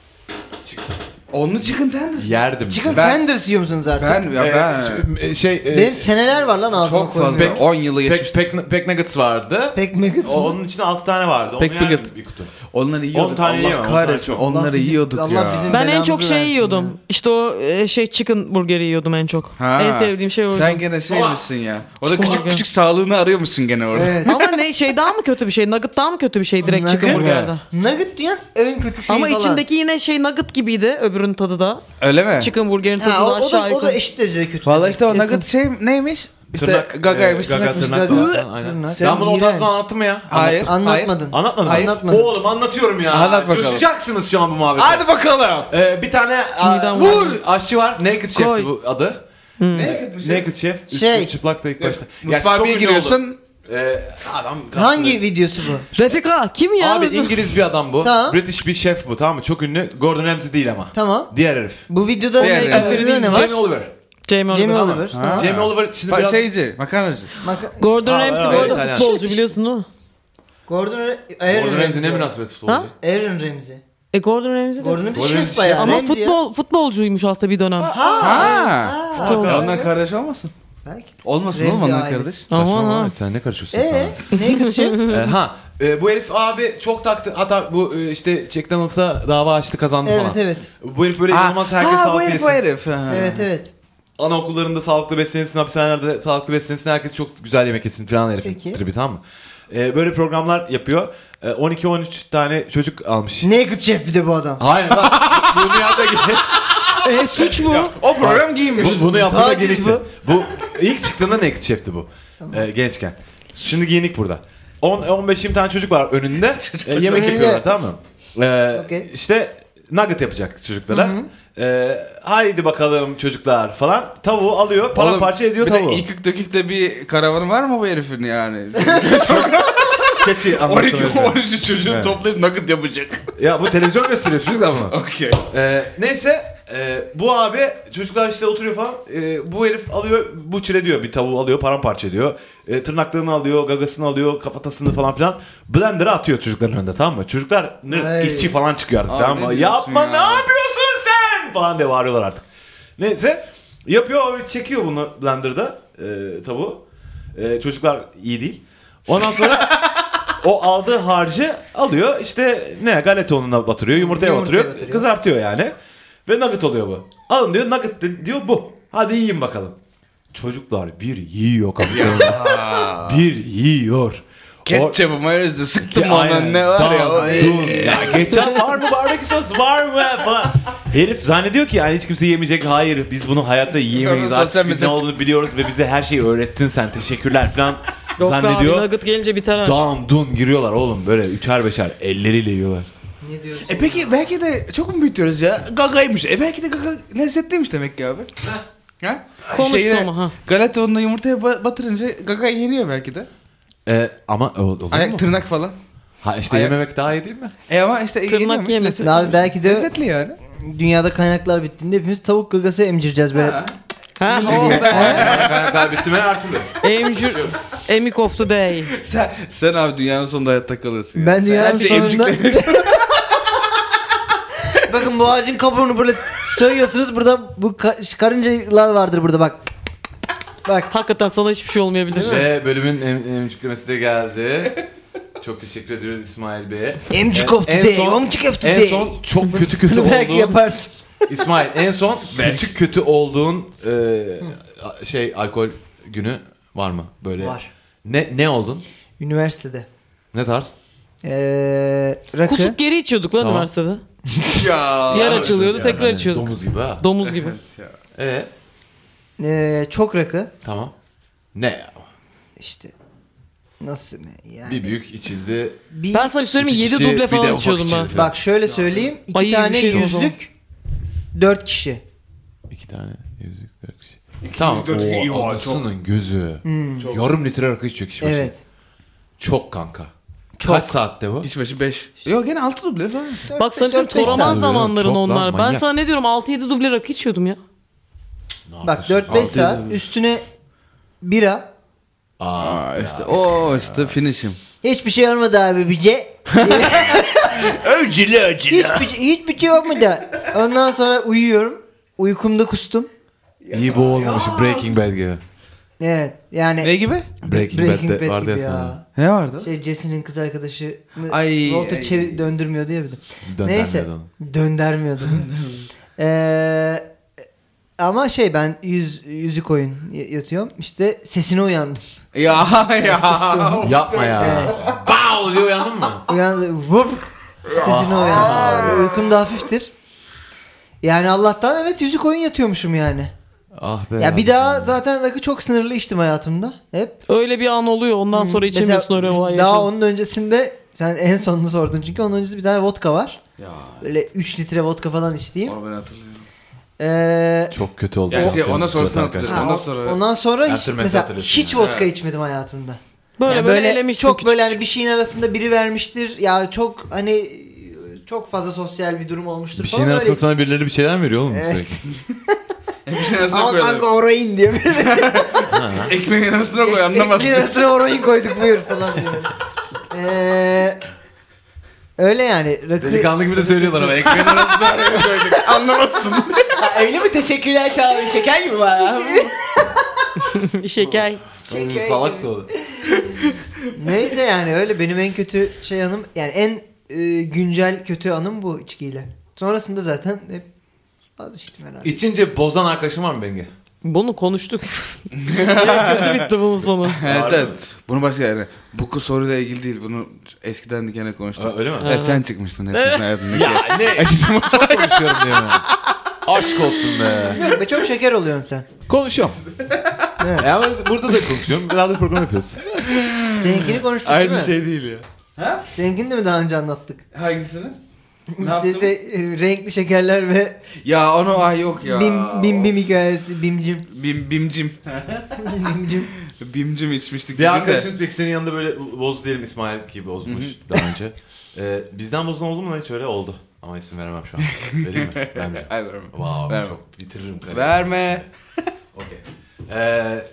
Speaker 5: Onlu chicken tenders.
Speaker 2: Yerdim.
Speaker 4: Chicken
Speaker 5: Ben-
Speaker 4: tenders yiyor musunuz artık?
Speaker 5: Ben
Speaker 2: E,
Speaker 5: ya
Speaker 1: Ee,
Speaker 5: ben.
Speaker 1: ş- şey e,
Speaker 4: Benim seneler var lan ağzıma
Speaker 5: Çok fazla.
Speaker 4: koymuyorum.
Speaker 5: 10 yılı geçmiş.
Speaker 1: pek, pek, pek nuggets vardı.
Speaker 4: Pek megat.
Speaker 2: O- Onun içinde 6 tane vardı. Onu
Speaker 5: Pek
Speaker 2: yerdim
Speaker 5: bigot.
Speaker 2: bir kutu.
Speaker 5: Onları yiyorduk.
Speaker 2: On tane
Speaker 5: Allah
Speaker 2: yiyemem, on tane
Speaker 5: kahretsin.
Speaker 2: çok.
Speaker 5: Onları
Speaker 4: Allah bizim-
Speaker 5: yiyorduk
Speaker 4: Allah
Speaker 5: ya.
Speaker 4: bizim-
Speaker 3: Ben en
Speaker 4: Belamızı
Speaker 3: çok şey
Speaker 4: versin
Speaker 3: yiyordum.
Speaker 4: ya.
Speaker 3: İşte o e, şey chicken burgeri yiyordum en çok.
Speaker 5: Ha.
Speaker 3: En sevdiğim şey oydu.
Speaker 5: Sen gene şey
Speaker 2: Ama-
Speaker 5: misin ya? Orada
Speaker 3: Çok
Speaker 5: küçük
Speaker 3: güzel.
Speaker 5: küçük sağlığını arıyormuşsun gene orada.
Speaker 4: Evet.
Speaker 3: Ama ne şey daha mı kötü bir şey? Nugget daha mı kötü bir şey direkt
Speaker 4: Nugget.
Speaker 3: chicken burgerde?
Speaker 4: Nugget dünyanın en kötü şeyi
Speaker 3: Ama
Speaker 4: falan.
Speaker 3: içindeki yine şey nugget gibiydi öbürünün tadı da.
Speaker 5: Öyle mi?
Speaker 3: Chicken burgerin tadı
Speaker 4: Ha, o,
Speaker 3: da
Speaker 4: o, da,
Speaker 3: aşağı
Speaker 4: o da
Speaker 3: yukarı.
Speaker 4: eşit derecede kötü.
Speaker 5: Vallahi işte o
Speaker 3: Kesin.
Speaker 5: nugget şey neymiş? İşte
Speaker 2: Tırnak,
Speaker 5: gagaymış
Speaker 2: e, gaga,
Speaker 5: tırnakmış.
Speaker 2: tırnak
Speaker 4: gaga.
Speaker 2: falan, aynen.
Speaker 4: Tırnak.
Speaker 2: Ben bunu
Speaker 4: Sen
Speaker 2: otazdan
Speaker 4: iğrenç.
Speaker 2: anlattım mı ya?
Speaker 5: Hayır.
Speaker 4: Anlatmadın.
Speaker 2: Anlatmadım.
Speaker 4: Hayır. Anlatmadım.
Speaker 2: Oğlum anlatıyorum ya.
Speaker 5: Anlat bakalım.
Speaker 2: Coşacaksınız şu an bu muhabbete.
Speaker 5: Hayır. Hadi bakalım.
Speaker 2: Ee, bir tane a,
Speaker 3: Midem
Speaker 2: vur
Speaker 3: bulandı.
Speaker 2: aşçı var. Naked Chef'ti
Speaker 3: Koy.
Speaker 2: bu adı.
Speaker 3: Hmm.
Speaker 5: Naked bir
Speaker 2: Naked Chef. Üstü
Speaker 4: Şey.
Speaker 2: çıplak da ilk başta. Gerçi
Speaker 5: Mutfağa
Speaker 2: çok
Speaker 5: bir
Speaker 2: ünlü oldu.
Speaker 5: giriyorsun.
Speaker 2: Ee, adam
Speaker 4: Hangi videosu bu?
Speaker 3: Refika kim ya?
Speaker 2: Abi İngiliz bir adam bu.
Speaker 4: Tamam.
Speaker 2: British bir şef bu tamam mı? Çok ünlü. Gordon Ramsay değil ama.
Speaker 4: Tamam.
Speaker 2: Diğer herif.
Speaker 4: Bu videoda
Speaker 5: Diğer
Speaker 4: ne,
Speaker 5: yani.
Speaker 4: bu videoda ne var?
Speaker 2: Jamie Oliver.
Speaker 3: Jamie
Speaker 4: Jamie
Speaker 3: Oliver.
Speaker 4: Oliver.
Speaker 5: Ha.
Speaker 4: Tamam.
Speaker 2: Jamie Oliver şimdi
Speaker 5: Bak
Speaker 2: biraz...
Speaker 5: şeyci, makarnacı.
Speaker 4: Maka-
Speaker 3: Gordon
Speaker 2: Aa,
Speaker 3: Ramsay bu
Speaker 2: evet,
Speaker 3: arada
Speaker 2: aynen.
Speaker 3: futbolcu biliyorsun değil mi?
Speaker 4: Gordon Re- Aaron
Speaker 2: Gordon Ramsay
Speaker 4: Ramsay.
Speaker 2: ne münasebet
Speaker 3: Ha?
Speaker 2: futbolcu.
Speaker 4: Aaron Ramsay.
Speaker 3: E Gordon Ramsay de.
Speaker 4: Gordon Ramsay
Speaker 2: Ramsay
Speaker 4: şef bayağı.
Speaker 3: Ama
Speaker 4: Ramsay ya.
Speaker 3: futbol futbolcuymuş aslında bir dönem.
Speaker 4: Ha.
Speaker 5: Ha.
Speaker 4: Ha.
Speaker 3: Futbol.
Speaker 5: Ya Ondan kardeş olmasın?
Speaker 4: Belki.
Speaker 5: Olmasın
Speaker 4: Remzi
Speaker 5: oğlum ondan
Speaker 4: ailesi.
Speaker 5: kardeş.
Speaker 3: Aman ha.
Speaker 2: sen ne karışıyorsun
Speaker 4: Ee, Naked Chef?
Speaker 2: Ee, ha e, bu herif abi çok taktı. Hatta bu e, işte Jack Daniels'a dava açtı kazandı
Speaker 4: Evet
Speaker 2: falan.
Speaker 4: evet.
Speaker 2: Bu herif böyle inanılmaz herkes
Speaker 5: ha, bu
Speaker 2: sağlıklı
Speaker 5: herif
Speaker 2: besin.
Speaker 5: bu herif. Ha.
Speaker 4: Evet evet.
Speaker 2: Anaokullarında sağlıklı beslenilsin, hapishanelerde sağlıklı beslenilsin. Herkes çok güzel yemek yesin falan herifin
Speaker 4: Peki.
Speaker 2: tribi tamam mı? E, böyle programlar yapıyor. E, 12-13 tane çocuk almış.
Speaker 4: Naked Chef bir de bu adam.
Speaker 2: Hayır lan. Bunu yaptı
Speaker 3: E suç mu?
Speaker 5: O program giymiş.
Speaker 2: bu, bunu yaptığına
Speaker 4: Taciz
Speaker 2: gelikti. Bu.
Speaker 4: bu.
Speaker 2: ilk çıktığında Naked Chef'ti bu. Ee, gençken. Şimdi giyinik burada. 10 15-20 tane çocuk var önünde. Ee, yemek
Speaker 4: önünde.
Speaker 2: yapıyorlar tamam mı? Ee,
Speaker 4: Okey.
Speaker 2: İşte nugget yapacak çocuklara. Ee, haydi bakalım çocuklar falan. Tavuğu alıyor, paramparça ediyor
Speaker 5: bir
Speaker 2: tavuğu.
Speaker 5: de ilk dökük de bir karavanı var mı bu herifin yani?
Speaker 2: Keçi anlatıyor.
Speaker 5: 12 13 çocuğu
Speaker 2: Evet.
Speaker 5: toplayıp nugget yapacak.
Speaker 2: Ya bu televizyon gösteriyor çocuklar bunu.
Speaker 5: Okey.
Speaker 2: Ee, neyse e, bu abi çocuklar işte oturuyor falan. E, bu herif alıyor bu çile diyor bir tavuğu alıyor paramparça ediyor. E, tırnaklarını alıyor gagasını alıyor kafatasını falan filan. Blender'a atıyor çocukların önünde tamam mı? Çocuklar nır
Speaker 4: Ay.
Speaker 2: içi falan çıkıyor artık
Speaker 5: Abi
Speaker 2: tamam mı?
Speaker 5: ne diyorsun
Speaker 2: Yapma
Speaker 5: ya?"
Speaker 2: ne yapıyorsun sen falan diye bağırıyorlar artık. Neyse yapıyor çekiyor bunu blender'da e, tavuğu. E, çocuklar iyi değil. Ondan sonra o aldığı harcı alıyor işte ne galeta ununa batırıyor, yumurtaya
Speaker 4: Yumurtaya
Speaker 2: batırıyor,
Speaker 4: batırıyor.
Speaker 2: kızartıyor yani. Ve nugget oluyor bu. Alın diyor nugget de- diyor bu. Hadi yiyin bakalım. Çocuklar bir yiyor kapıda. bir yiyor.
Speaker 5: Ketçapı mayonezle sıktım
Speaker 2: Ya,
Speaker 5: ona
Speaker 2: aynen.
Speaker 5: ne var ya.
Speaker 2: Dam,
Speaker 5: o-
Speaker 2: dum. ya geçen var mı barbekü sos var mı falan. Herif zannediyor ki yani hiç kimse yemeyecek. Hayır biz bunu hayatta yiyemeyiz.
Speaker 5: Orada
Speaker 2: Artık
Speaker 5: sosyal
Speaker 2: biz ne
Speaker 5: mesaj-
Speaker 2: olduğunu biliyoruz ve bize her şeyi öğrettin sen. Teşekkürler falan
Speaker 3: Yok be abi
Speaker 2: zannediyor.
Speaker 3: nugget gelince biter her şey.
Speaker 2: Dam dun giriyorlar oğlum böyle üçer beşer elleriyle yiyorlar.
Speaker 4: Ne diyorsun?
Speaker 5: E peki belki de çok mu büyütüyoruz ya? Gagaymış. E belki de gaga lezzetliymiş demek ki abi. ha?
Speaker 3: Konuştu
Speaker 5: Şeyine-
Speaker 3: ama, ha.
Speaker 5: Galeta ununa yumurtaya ba- batırınca gaga yeniyor belki de.
Speaker 2: Ee, ama o- olur mu?
Speaker 5: Ayak tırnak falan.
Speaker 2: Ha işte
Speaker 5: Ayak-
Speaker 2: yememek daha iyi değil mi?
Speaker 5: E ama işte
Speaker 3: Tırnak
Speaker 5: yeniyormuş,
Speaker 3: yemesin.
Speaker 5: lezzet-
Speaker 4: Abi belki de
Speaker 5: Lezzetli yani.
Speaker 4: dünyada kaynaklar bittiğinde hepimiz tavuk gagası emcireceğiz böyle.
Speaker 3: Ha, oh be.
Speaker 2: Kaynaklar bitti mi her türlü.
Speaker 3: Emcür, Emik of the day.
Speaker 5: Sen, sen abi dünyanın sonunda hayatta kalırsın. ya.
Speaker 4: Ben dünyanın
Speaker 5: Sen bir
Speaker 4: sonunda...
Speaker 5: emcikle-
Speaker 4: Bakın bu ağacın kabuğunu böyle soyuyorsunuz. Burada bu ka- karıncalar vardır burada bak. Bak
Speaker 3: Hakikaten sana hiçbir şey olmayabilir.
Speaker 2: Ve bölümün em- emciklemesi de geldi. Çok teşekkür ediyoruz İsmail Bey'e.
Speaker 4: emcik
Speaker 2: E,
Speaker 4: of
Speaker 2: en
Speaker 4: today,
Speaker 2: son-
Speaker 4: emcik of
Speaker 2: En
Speaker 4: today.
Speaker 2: son çok kötü kötü
Speaker 4: Bunu belki
Speaker 2: olduğun
Speaker 4: yaparsın.
Speaker 2: İsmail en son kötü kötü olduğun e, a- şey alkol günü var mı böyle?
Speaker 4: Var.
Speaker 2: Ne ne oldun?
Speaker 4: Üniversitede.
Speaker 2: Ne tarz?
Speaker 4: Ee, rakı.
Speaker 3: Kusup geri içiyorduk lan
Speaker 2: Tamam.
Speaker 3: üniversitede.
Speaker 5: ya.
Speaker 3: Yer açılıyordu tekrar
Speaker 2: Yani
Speaker 3: içiyorduk.
Speaker 2: Domuz gibi ha.
Speaker 3: Domuz gibi.
Speaker 2: Ee,
Speaker 4: ee, çok rakı.
Speaker 2: tamam. Ne? ya?
Speaker 4: İşte nasıl ne yani.
Speaker 2: Bir büyük içildi.
Speaker 4: Bir-
Speaker 3: Ben sana bir söyleyeyim mi?
Speaker 2: İki
Speaker 3: 7
Speaker 2: kişi, bir
Speaker 3: duble
Speaker 2: de
Speaker 3: falan
Speaker 2: ufak
Speaker 3: içiyordum
Speaker 2: içeri
Speaker 3: ben.
Speaker 2: falan.
Speaker 4: Bak şöyle söyleyeyim. iki
Speaker 3: Ay, iyi bir
Speaker 4: tane
Speaker 3: şey o zaman.
Speaker 4: yüzlük. Dört kişi.
Speaker 2: İki tane yüzük dört kişi. Tamam.
Speaker 5: dört kişi, iyi,
Speaker 2: Oo,
Speaker 5: oha,
Speaker 2: anasının gözü.
Speaker 4: Hmm,
Speaker 2: Yarım litre rakı içiyor kişi başı.
Speaker 4: Evet.
Speaker 2: Çok kanka.
Speaker 4: Çok.
Speaker 2: Kaç saatte bu?
Speaker 5: Kişbaşı 5. Yok gene 6 duble falan.
Speaker 3: Bak sana
Speaker 4: Dört, beş
Speaker 3: söyleyeyim Toraman
Speaker 2: saat.
Speaker 3: zamanların
Speaker 2: Çok lan,
Speaker 3: onlar. Ben
Speaker 2: manyak.
Speaker 3: sana ne diyorum 6-7 duble rakı içiyordum ya.
Speaker 2: Ne
Speaker 4: Bak
Speaker 2: yapıyorsun?
Speaker 4: 4-5
Speaker 2: Altı
Speaker 4: saat
Speaker 2: yedi-
Speaker 4: üstüne bira.
Speaker 2: Aa,
Speaker 5: Aa işte o işte finish'im.
Speaker 4: Hiçbir şey olmadı abi bize.
Speaker 5: Öcülü öcülü.
Speaker 4: Hiçbir, hiçbir şey olmadı. Ondan sonra uyuyorum. Uykumda kustum.
Speaker 2: iyi boğulmamış. Breaking Bad gibi.
Speaker 4: Evet yani.
Speaker 5: Ne gibi?
Speaker 2: Breaking,
Speaker 4: Breaking
Speaker 2: Bad'de
Speaker 4: Bad
Speaker 2: vardı ya
Speaker 4: gibi
Speaker 2: sana.
Speaker 5: Ne vardı?
Speaker 4: Şey Jesse'nin kız arkadaşı
Speaker 5: Ay,
Speaker 4: Walter
Speaker 5: ay.
Speaker 4: çevir- döndürmüyordu ya bir de.
Speaker 2: Döndermiyordu
Speaker 4: Neyse.
Speaker 2: onu.
Speaker 4: Döndürmüyordu. Ee, ama şey ben yüz, yüzük oyun y- yatıyorum. İşte sesine uyandım.
Speaker 5: Ya ya.
Speaker 4: Kustum.
Speaker 2: Yapma ya. Bow diye uyandın mı?
Speaker 4: Uyandım. Vup. Sesine
Speaker 5: Ah.
Speaker 4: uyandım. Böyle Uykum da hafiftir. Yani Allah'tan evet yüzük oyun yatıyormuşum yani.
Speaker 2: Ah be.
Speaker 4: Ya bir daha zaten rakı çok sınırlı içtim hayatımda. Hep
Speaker 3: Öyle bir an oluyor ondan sonra içemiyorsun öyle olay
Speaker 4: Daha
Speaker 3: yaşam.
Speaker 4: onun öncesinde sen en sonunu sordun çünkü onun öncesinde bir tane vodka var.
Speaker 5: Ya.
Speaker 4: Böyle 3 litre vodka falan içtiğim.
Speaker 5: Onu ben hatırlıyorum.
Speaker 4: Ee,
Speaker 2: Çok kötü oldu.
Speaker 5: Yani şey,
Speaker 2: Yaptığınız
Speaker 5: ona sonrasını
Speaker 2: zaten
Speaker 5: hatırlıyorsun.
Speaker 2: arkadaşlar.
Speaker 5: ondan sonra-
Speaker 4: ondan sonra hiç,
Speaker 2: Ertürmesi
Speaker 4: mesela
Speaker 2: hatırlıyorsun
Speaker 4: hiç
Speaker 2: yani.
Speaker 4: vodka
Speaker 5: Evet.
Speaker 4: içmedim hayatımda.
Speaker 3: Böyle
Speaker 4: Yani
Speaker 3: böyle, elemişsin.
Speaker 4: çok
Speaker 3: küçük
Speaker 4: böyle hani bir şeyin arasında biri vermiştir. Ya çok hani çok fazla sosyal bir durum olmuştur
Speaker 2: Bir
Speaker 4: falan.
Speaker 2: şeyin arasında
Speaker 4: öyle-
Speaker 2: sana birileri bir şeyler mi veriyor oğlum
Speaker 4: Evet.
Speaker 2: sürekli?
Speaker 5: Ekmeğin E, şey arasına
Speaker 4: Al kanka
Speaker 5: koyalım.
Speaker 4: orayın diye.
Speaker 5: Ekmeğin arasına koy
Speaker 4: Ekmeğin
Speaker 5: şey anlamazsın.
Speaker 4: arasına orayı koyduk buyur falan diye. Ee, öyle yani. Rakı...
Speaker 2: Delikanlı gibi de söylüyorlar ama ekmeğin arasında.
Speaker 5: anlamazsın.
Speaker 4: öyle mi? Teşekkürler Çağla. Şeker gibi var.
Speaker 3: Şeker.
Speaker 4: Şeker
Speaker 2: Salak
Speaker 4: gibi.
Speaker 2: oldu.
Speaker 4: Neyse yani öyle benim en kötü şey anım yani en e, güncel kötü anım bu içkiyle. Sonrasında zaten hep az içtim herhalde.
Speaker 2: İçince bozan arkadaşın var mı Bengi?
Speaker 3: Bunu konuştuk. ya kötü bitti bunun sonu.
Speaker 5: evet
Speaker 2: Var mı?
Speaker 5: evet. Bunu başka yani. Bu kız soruyla ilgili değil. Bunu eskiden dikene konuştuk.
Speaker 2: Ha, öyle mi?
Speaker 5: Evet, sen çıkmıştın hepimizin hayatındaki.
Speaker 2: ne? Çok konuşuyorum diye mi? Aşk olsun be.
Speaker 4: Yok be çok şeker oluyorsun sen.
Speaker 2: Konuşuyorum.
Speaker 4: Evet.
Speaker 2: E ama burada da konuşuyorum. Radyo programı yapıyoruz.
Speaker 4: Seninkini konuştuk değil mi?
Speaker 5: Aynı şey değil ya.
Speaker 4: Seninkini de mi daha önce anlattık?
Speaker 5: Hangisini? Ne
Speaker 4: işte
Speaker 5: yaptın?
Speaker 4: şey, e, renkli şekerler ve
Speaker 5: Ya onu ay yok ya.
Speaker 4: bim bim bim hikayesi bimcim
Speaker 5: Bim bimcim.
Speaker 4: bimcim.
Speaker 5: Bimcim içmiştik.
Speaker 2: Bir arkadaşın peki senin yanında böyle boz diyelim İsmail gibi bozmuş daha önce. Ee, bizden bozan oldu mu lan hiç öyle? Oldu. Ama isim veremem şu an. Vereyim mi? Ben de.
Speaker 5: Ay verme.
Speaker 2: Wow,
Speaker 5: Verme.
Speaker 2: çok bitiririm kariyerimi.
Speaker 5: Verme.
Speaker 2: Okey. Ee,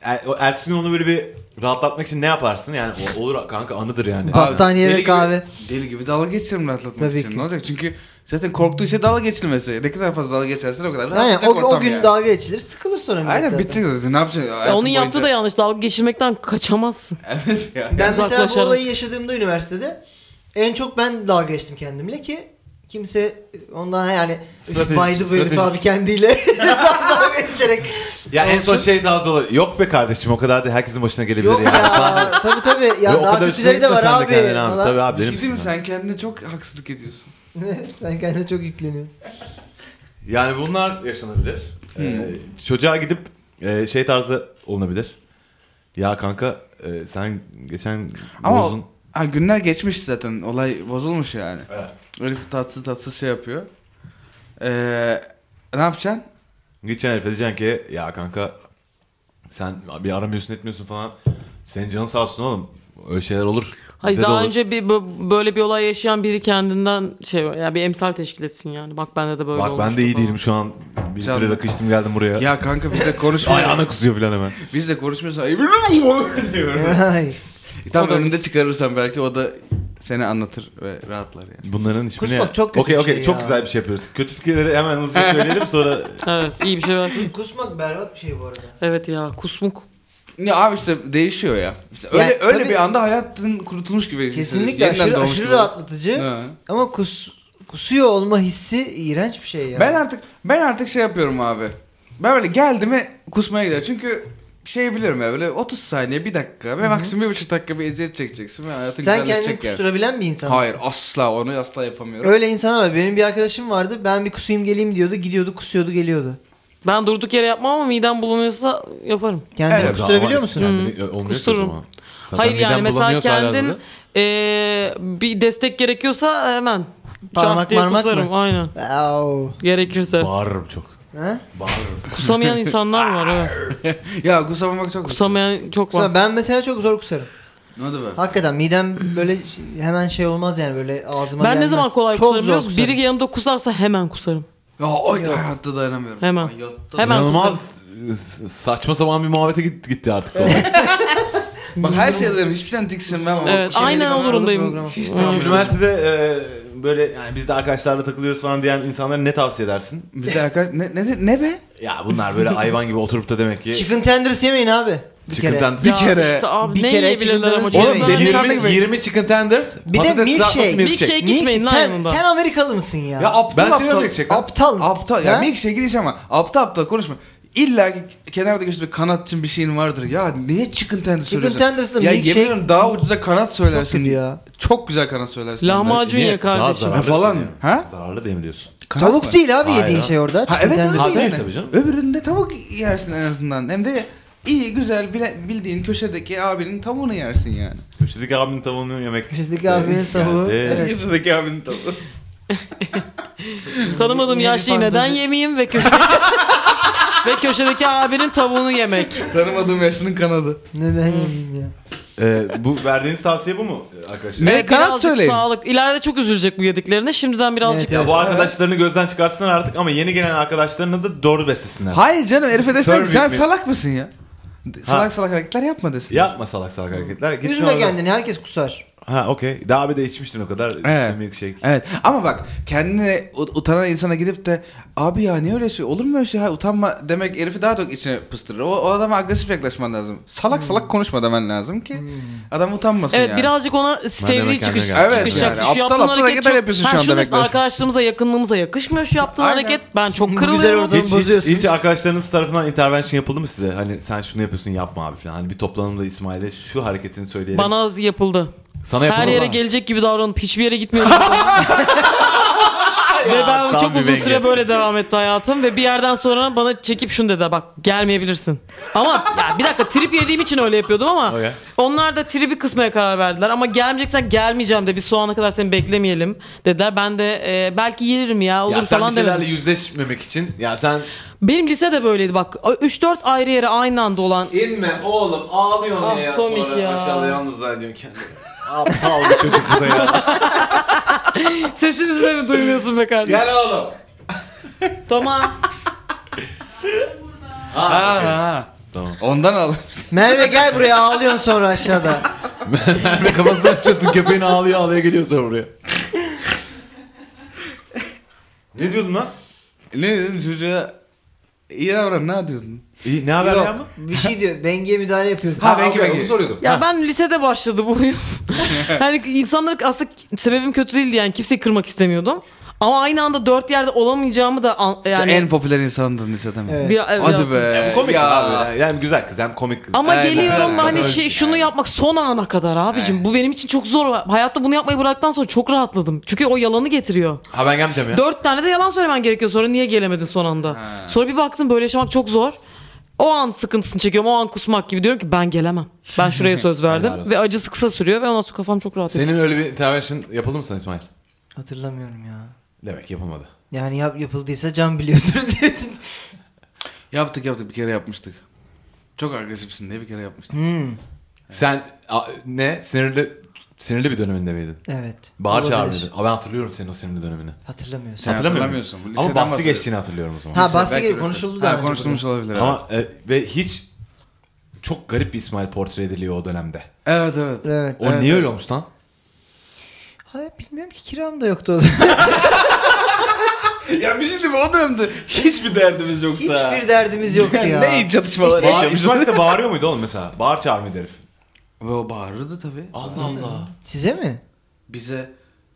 Speaker 2: er- o- ertesi gün onu böyle bir rahatlatmak için ne yaparsın? Yani o- olur kanka anıdır yani.
Speaker 4: Bak- Battaniye
Speaker 5: Deli
Speaker 4: ve
Speaker 5: gibi-
Speaker 4: kahve.
Speaker 5: Deli gibi dalga geçerim rahatlatmak
Speaker 4: Tabii
Speaker 5: için.
Speaker 4: ki.
Speaker 5: Ne olacak? Çünkü zaten korktuğu şey dalga geçilmesi. Ne kadar fazla dalga geçersen o kadar
Speaker 4: Aynen o,
Speaker 5: rahatlayacak
Speaker 4: o
Speaker 5: ortam
Speaker 4: gün
Speaker 5: yani.
Speaker 4: dalga geçilir sıkılır sonra millet
Speaker 5: Aynen
Speaker 4: zaten.
Speaker 5: bitecek zaten. Ne yapacaksın?
Speaker 3: Ya
Speaker 5: hayatın
Speaker 3: onun yaptığı da
Speaker 5: boyunca?
Speaker 3: yanlış. Dalga geçirmekten kaçamazsın.
Speaker 5: Evet ya.
Speaker 4: Ben mesela bu
Speaker 3: Uzaklaşarak.
Speaker 4: olayı yaşadığımda üniversitede en çok ben dalga geçtim kendimle ki kimse ondan yani
Speaker 2: Stratejik,
Speaker 4: baydı bu herif
Speaker 2: stratejik.
Speaker 4: abi kendiyle dalga geçerek.
Speaker 2: ya en son
Speaker 4: Olsun.
Speaker 2: şey daha zor. olur. Yok be kardeşim o kadar da herkesin başına gelebilir
Speaker 4: Yok
Speaker 2: yani.
Speaker 4: ya tabii tabii ya
Speaker 2: Ve o
Speaker 4: daha
Speaker 2: kadar
Speaker 4: kötüleri de
Speaker 2: üstüne
Speaker 4: var
Speaker 2: gitme sen de
Speaker 4: abi.
Speaker 2: kendine abi.
Speaker 4: falan.
Speaker 2: Tabii abi
Speaker 5: Bir şey
Speaker 2: benim
Speaker 5: diyeyim mi? Sen kendine çok haksızlık ediyorsun.
Speaker 4: Sen kendine çok yükleniyorsun.
Speaker 2: Yani bunlar yaşanabilir. Ee,
Speaker 5: Hmm.
Speaker 2: çocuğa gidip e, şey tarzı olunabilir. Ya kanka e, sen geçen
Speaker 5: Ama
Speaker 2: uzun...
Speaker 5: Ha, günler geçmiş zaten. Olay bozulmuş yani.
Speaker 2: Evet.
Speaker 5: Öyle tatsız tatsız şey yapıyor. Ee, ne yapacaksın?
Speaker 2: Gideceksin herife diyeceksin ki ya kanka sen bir aramıyorsun etmiyorsun falan. Senin canın sağ olsun oğlum. Öyle şeyler olur.
Speaker 3: Hayır
Speaker 2: Bize de
Speaker 3: daha
Speaker 2: olur.
Speaker 3: önce bir bö- böyle bir olay yaşayan biri kendinden şey ya bir emsal teşkil etsin yani. Bak bende de böyle
Speaker 2: Bak ben
Speaker 3: olmuştu
Speaker 2: de iyi
Speaker 3: falan.
Speaker 2: değilim şu an. Bir
Speaker 5: Canım.
Speaker 2: litre rakı içtim geldim buraya.
Speaker 5: Ya kanka biz de konuşmuyoruz.
Speaker 2: Ayağına kusuyor falan hemen.
Speaker 5: biz de konuşmuyoruz. Ay, biliyor musun?
Speaker 4: Ay.
Speaker 5: Tam
Speaker 3: O da-
Speaker 5: önünde çıkarırsan belki o da seni anlatır ve rahatlar yani.
Speaker 2: Bunların hiçbirine...
Speaker 4: Kusmak çok kötü
Speaker 2: Okey,
Speaker 4: bir
Speaker 2: okey,
Speaker 4: şey
Speaker 2: çok
Speaker 4: ya.
Speaker 2: güzel bir şey yapıyoruz. Kötü fikirleri hemen hızlı söyleyelim sonra...
Speaker 3: Evet iyi bir şey var.
Speaker 4: Kusmak berbat bir şey bu arada.
Speaker 3: Evet ya kusmuk.
Speaker 5: Ya abi işte değişiyor ya. İşte
Speaker 4: Yani
Speaker 5: öyle öyle
Speaker 4: tabii-
Speaker 5: bir anda hayatın kurtulmuş gibi. hissediyorsun.
Speaker 4: Kesinlikle
Speaker 5: Yeniden
Speaker 4: aşırı,
Speaker 5: doğmuş
Speaker 4: aşırı
Speaker 5: gibi.
Speaker 4: rahatlatıcı.
Speaker 5: Ha.
Speaker 4: Ama kus, kusuyor olma hissi iğrenç bir şey ya.
Speaker 5: Ben artık ben artık şey yapıyorum abi. Ben böyle geldi mi kusmaya gider. Çünkü şey biliyorum ya böyle 30 saniye bir dakika ve maksimum bir buçuk dakika bir eziyet çekeceksin ve hayatın
Speaker 4: Sen kendini
Speaker 5: güzelleşecek yani.
Speaker 4: kusturabilen bir insan
Speaker 5: Hayır
Speaker 4: mısın?
Speaker 5: asla onu asla yapamıyorum.
Speaker 4: Öyle insan var. Benim bir arkadaşım vardı. Ben bir kusayım geleyim diyordu. Gidiyordu kusuyordu geliyordu.
Speaker 3: Ben durduk yere yapmam ama midem bulanıyorsa yaparım.
Speaker 4: Kendini
Speaker 5: Evet.
Speaker 4: kusturabiliyor musun?
Speaker 2: e,
Speaker 1: Kendini- olmuyor ki o
Speaker 3: Kustururum.
Speaker 1: zaman. Zaten
Speaker 3: Hayır yani
Speaker 1: miden
Speaker 3: mesela
Speaker 1: bulanıyorsa hala
Speaker 3: kendin
Speaker 1: hazırda.
Speaker 3: eee, bir destek gerekiyorsa hemen
Speaker 4: Parmak
Speaker 3: şart diye
Speaker 4: marmak
Speaker 3: kusarım
Speaker 4: mı?
Speaker 3: aynen.
Speaker 4: Au.
Speaker 3: Gerekirse.
Speaker 2: Bağırırım çok.
Speaker 4: Ha?
Speaker 2: Bağırırım.
Speaker 3: Kusamayan insanlar var evet.
Speaker 5: Ya kusamamak çok
Speaker 3: Kusamayan çok var.
Speaker 4: Kusura- Ben mesela çok zor kusarım.
Speaker 5: Ne oldu be?
Speaker 4: Hakikaten midem böyle şey- hemen şey olmaz yani böyle ağzıma
Speaker 3: Ben ne
Speaker 4: gelmez.
Speaker 3: zaman kolay
Speaker 4: Çok
Speaker 3: kusarım biliyor
Speaker 4: zor
Speaker 3: musun? Biri yanımda kusarsa hemen kusarım.
Speaker 5: Ya ay hayatta dayanamıyorum.
Speaker 3: Hemen.
Speaker 5: Hayatta
Speaker 3: Hemen
Speaker 2: İnanılmaz s- saçma sapan bir muhabbete gitti, gitti artık.
Speaker 5: Bak her şeyde dedim hiçbir şeyden tiksinmem ama.
Speaker 3: Evet,
Speaker 5: bu şey
Speaker 3: aynen
Speaker 5: benim
Speaker 3: o durumdayım.
Speaker 5: programım. Hiç
Speaker 3: Evet.
Speaker 5: tahammülüm yok.
Speaker 2: Üniversitede e, böyle yani biz de arkadaşlarla takılıyoruz falan diyen insanlara ne tavsiye edersin?
Speaker 5: Bize arkadaş ne, ne, ne be?
Speaker 2: Ya bunlar böyle hayvan gibi oturup da demek ki...
Speaker 4: Chicken tenders yemeyin abi. Bir kere.
Speaker 2: Chicken
Speaker 5: Bir
Speaker 3: Ya
Speaker 5: kere.
Speaker 3: işte abi
Speaker 4: bir
Speaker 3: ne
Speaker 4: kere
Speaker 3: yiyebilirler ama
Speaker 4: çıkıntılarımız
Speaker 3: çok
Speaker 2: Oğlum
Speaker 5: Oğlum,
Speaker 3: önemli.
Speaker 5: deli-
Speaker 2: 20, 20 chicken tenders,
Speaker 4: Bir de
Speaker 2: patates kızartması
Speaker 4: milkshake.
Speaker 2: milkshake.
Speaker 3: Milkshake içmeyin lan
Speaker 4: sen,
Speaker 3: yanında.
Speaker 4: sen Amerikalı mısın ya?
Speaker 5: Ya aptal
Speaker 2: Ben seviyorum
Speaker 5: aptal.
Speaker 2: milkshake lan.
Speaker 4: aptal.
Speaker 5: Aptal. Ya
Speaker 4: Ha?
Speaker 5: milkshake giriş ama aptal aptal konuşma. İlla ki kenarda göçte bir kanat için bir şeyin vardır. Ya niye chicken tender söylüyorsun?
Speaker 4: tenders'la
Speaker 5: Ya
Speaker 4: milkshake-
Speaker 5: yemin ederim daha ucuza kanat söylersin.
Speaker 4: kötü ya.
Speaker 5: Çok güzel kanat söylersin.
Speaker 3: Lahmacun
Speaker 2: Niye?
Speaker 3: ye kardeşim.
Speaker 2: Daha
Speaker 5: Ha, falan
Speaker 2: zararlı.
Speaker 5: mı? Ha?
Speaker 2: Zararlı değil mi diyorsun?
Speaker 5: Kanat
Speaker 4: Tavuk
Speaker 5: mı?
Speaker 4: değil abi
Speaker 2: Hayır
Speaker 4: yediğin
Speaker 2: ha.
Speaker 4: şey orada.
Speaker 5: Ha
Speaker 4: Chicken
Speaker 5: evet
Speaker 4: tenders.
Speaker 5: öyle
Speaker 2: Hakkı
Speaker 5: değil.
Speaker 2: tabii canım.
Speaker 5: Öbüründe tavuk yersin en azından. Hem de iyi güzel bile, bildiğin köşedeki abinin tavuğunu yersin yani.
Speaker 2: Köşedeki abinin tavuğunu yemek. Ee,
Speaker 4: Köşedeki abinin tavuğu.
Speaker 2: Geldi.
Speaker 4: Evet.
Speaker 5: Köşedeki abinin tavuğu.
Speaker 3: Tanımadığım
Speaker 4: Yine bir
Speaker 3: yaşlıyı neden
Speaker 4: fantezi.
Speaker 3: yemeyeyim ve köşedeki ve köşedeki abinin tavuğunu yemek.
Speaker 5: Tanımadığım yaşının kanadı.
Speaker 4: Neden yemeyeyim ya?
Speaker 2: Ee, bu verdiğiniz tavsiye bu mu arkadaşlar?
Speaker 5: Ne?
Speaker 3: Ve
Speaker 5: E, kanat
Speaker 3: E, birazcık
Speaker 5: söyleyin.
Speaker 3: sağlık. İleride çok üzülecek bu yediklerine. Şimdiden birazcık
Speaker 4: Evet,
Speaker 2: Ya bu arkadaşlarını gözden çıkarsınlar artık ama yeni gelen arkadaşlarını da doğru beslesinler.
Speaker 5: Hayır canım herife destek
Speaker 2: Furby
Speaker 5: sen
Speaker 2: mi?
Speaker 5: salak mısın ya? De- Salak salak hareketler yapma desin.
Speaker 2: Yapma salak salak hareketler. Gitsin
Speaker 4: Üzme
Speaker 2: orada-
Speaker 4: kendini herkes kusar.
Speaker 2: Ha okey. Daha bir de içmiştin o kadar.
Speaker 5: Evet.
Speaker 2: İşte milkshake.
Speaker 5: Evet ama bak kendine ut- utanan insana gidip de abi ya niye öyle şey olur mu öyle şey ha, utanma demek herifi daha çok içine pıstırır. O, o adama agresif yaklaşman lazım. Salak salak konuşma demen lazım ki adam utanmasın
Speaker 3: Evet
Speaker 5: yani.
Speaker 3: birazcık ona fevri
Speaker 2: kendime
Speaker 3: çıkış,
Speaker 2: geldim.
Speaker 5: Evet
Speaker 3: çıkışacak.
Speaker 5: yani, aptal
Speaker 3: yaptığın
Speaker 5: aptal hareketler yapıyorsun
Speaker 3: Ha,
Speaker 5: şu anda
Speaker 3: şunu
Speaker 5: bekliyorsun.
Speaker 3: arkadaşlığımıza yakınlığımıza yakışmıyor şu yaptığın
Speaker 5: Aynen.
Speaker 3: hareket. Ben çok
Speaker 4: Güzel
Speaker 3: kırılıyorum.
Speaker 4: orada.
Speaker 2: Hiç, hiç,
Speaker 4: bozuyorsun.
Speaker 2: hiç arkadaşlarınız tarafından intervention yapıldı mı size? Hani sen şunu yapıyorsun yapma abi falan. Hani bir toplanımda İsmail'e şu hareketini söyleyelim.
Speaker 3: Bana yapıldı.
Speaker 2: Sana yapıldı
Speaker 3: Her yere
Speaker 2: mı?
Speaker 3: gelecek gibi davranıp hiçbir yere gitmiyorum. ve ben
Speaker 2: tam
Speaker 3: çok
Speaker 2: bir
Speaker 3: uzun
Speaker 2: Wenger.
Speaker 3: süre böyle devam etti hayatım ve bir yerden sonra bana çekip şunu dedi bak gelmeyebilirsin. Ama ya bir dakika trip yediğim için öyle yapıyordum ama
Speaker 2: Okey.
Speaker 3: onlar da tribi kısmaya karar verdiler ama gelmeyeceksen gelmeyeceğim de bir soğana kadar seni beklemeyelim dediler. Ben de e, belki yerim ya olur
Speaker 2: Ya sen bir
Speaker 3: falan
Speaker 2: şeylerle
Speaker 3: demedim.
Speaker 2: yüzleşmemek için ya sen
Speaker 3: Benim lisede böyleydi bak 3-4 ayrı yere aynı anda olan
Speaker 2: inme oğlum ağlıyorsun
Speaker 3: Ah, ya, komik sonra ya. aşağıda
Speaker 2: yalnız zannediyorsun kendini. Aptal bir çocuksun ya.
Speaker 3: sesimizi de mi duymuyorsun be kardeşim?
Speaker 2: Gel oğlum.
Speaker 3: Tamam.
Speaker 5: Ha, ha.
Speaker 2: Tamam.
Speaker 5: Ondan al.
Speaker 4: Merve gel buraya ağlıyorsun sonra aşağıda.
Speaker 2: Merve kafasını açıyorsun köpeğin ağlıyor ağlıyor geliyor sonra buraya. ne diyordun lan?
Speaker 5: E, ne dedin çocuğa? İyi davran ne diyordun?
Speaker 2: İyi, ne haber
Speaker 4: Yok.
Speaker 2: ya mı?
Speaker 4: Bir şey diyor. Bengi'ye müdahale yapıyordu.
Speaker 5: Ha, Bengi,
Speaker 2: okey,
Speaker 5: Bengi.
Speaker 2: onu soruyordum.
Speaker 3: Ya ben lisede başladı bu oyun. yani insanlar aslında sebebim kötü değildi yani kimseyi kırmak istemiyordum. Ama aynı anda dört yerde olamayacağımı da an- yani
Speaker 5: Yani, en popüler insandın lisede mi?
Speaker 4: Evet.
Speaker 3: bir- biraz-
Speaker 5: Hadi be.
Speaker 2: Ya bu komik
Speaker 5: Ya.
Speaker 2: abi. Yani güzel kız hem komik kız.
Speaker 3: Ama
Speaker 5: Aynen.
Speaker 3: geliyorum
Speaker 2: Aynen.
Speaker 3: hani
Speaker 2: Çok
Speaker 3: şey,
Speaker 2: özgür
Speaker 3: şunu
Speaker 2: yani.
Speaker 3: yapmak son ana kadar abicim. Bu benim için çok zor. Hayatta bunu yapmayı bıraktıktan sonra çok rahatladım. Çünkü o yalanı getiriyor.
Speaker 2: Ha ben gelmeyeceğim ya.
Speaker 3: Dört tane de yalan söylemen gerekiyor sonra niye gelemedin son anda. Sonra bir baktım böyle yaşamak çok zor. O an sıkıntısını çekiyorum o an kusmak gibi diyorum ki ben gelemem. Ben şuraya söz verdim
Speaker 2: olsun.
Speaker 3: ve acısı kısa sürüyor ve ondan sonra kafam çok rahat.
Speaker 2: Senin öyle bir intervention yapıldı mı sana İsmail?
Speaker 4: Hatırlamıyorum ya.
Speaker 2: Demek yapılmadı.
Speaker 4: Yani yap, yapıldıysa can biliyordur diye.
Speaker 5: Yaptık yaptık bir kere yapmıştık. Çok agresifsin diye bir kere yapmıştık.
Speaker 4: Hmm,
Speaker 2: Sen a, ne sinirli sinirli bir döneminde miydin?
Speaker 4: evet.
Speaker 2: Bağır
Speaker 4: Olabilir.
Speaker 2: çağırmıydın. Aa, Ben hatırlıyorum senin o sinirli dönemini.
Speaker 4: Hatırlamıyorsun.
Speaker 5: Sen
Speaker 2: Hatırlamıyor
Speaker 5: hatırlamıyorsun.
Speaker 2: musun?
Speaker 5: Bu
Speaker 2: Ama
Speaker 5: liseden
Speaker 2: bahsi
Speaker 5: bahsediyorum.
Speaker 2: geçtiğini hatırlıyorum o zaman.
Speaker 4: Ha bahsi
Speaker 5: Belki
Speaker 4: gibi
Speaker 5: biraz-
Speaker 4: konuşuldu daha
Speaker 5: Ha
Speaker 4: önce
Speaker 5: konuşulmuş
Speaker 4: burada.
Speaker 5: olabilir.
Speaker 2: Ama e, ve hiç çok garip bir İsmail portre ediliyor o dönemde.
Speaker 5: Evet evet.
Speaker 4: Evet.
Speaker 2: O
Speaker 5: Evet,
Speaker 2: niye
Speaker 5: evet.
Speaker 2: öyle olmuş lan?
Speaker 4: Hayır bilmiyorum ki kiram da yoktu o zaman.
Speaker 5: ya bizim de o dönemde hiçbir derdimiz yoktu. ha.
Speaker 4: Hiçbir derdimiz yoktu ya.
Speaker 5: Ne çatışmalar
Speaker 2: Bağır,
Speaker 5: yaşamışız.
Speaker 2: üniversitede bağırıyor muydu oğlum mesela? Bağır çağır mıydı herif?
Speaker 5: Ve o bağırırdı tabii. Ah,
Speaker 2: Allah Allah.
Speaker 4: Size mi?
Speaker 5: Bize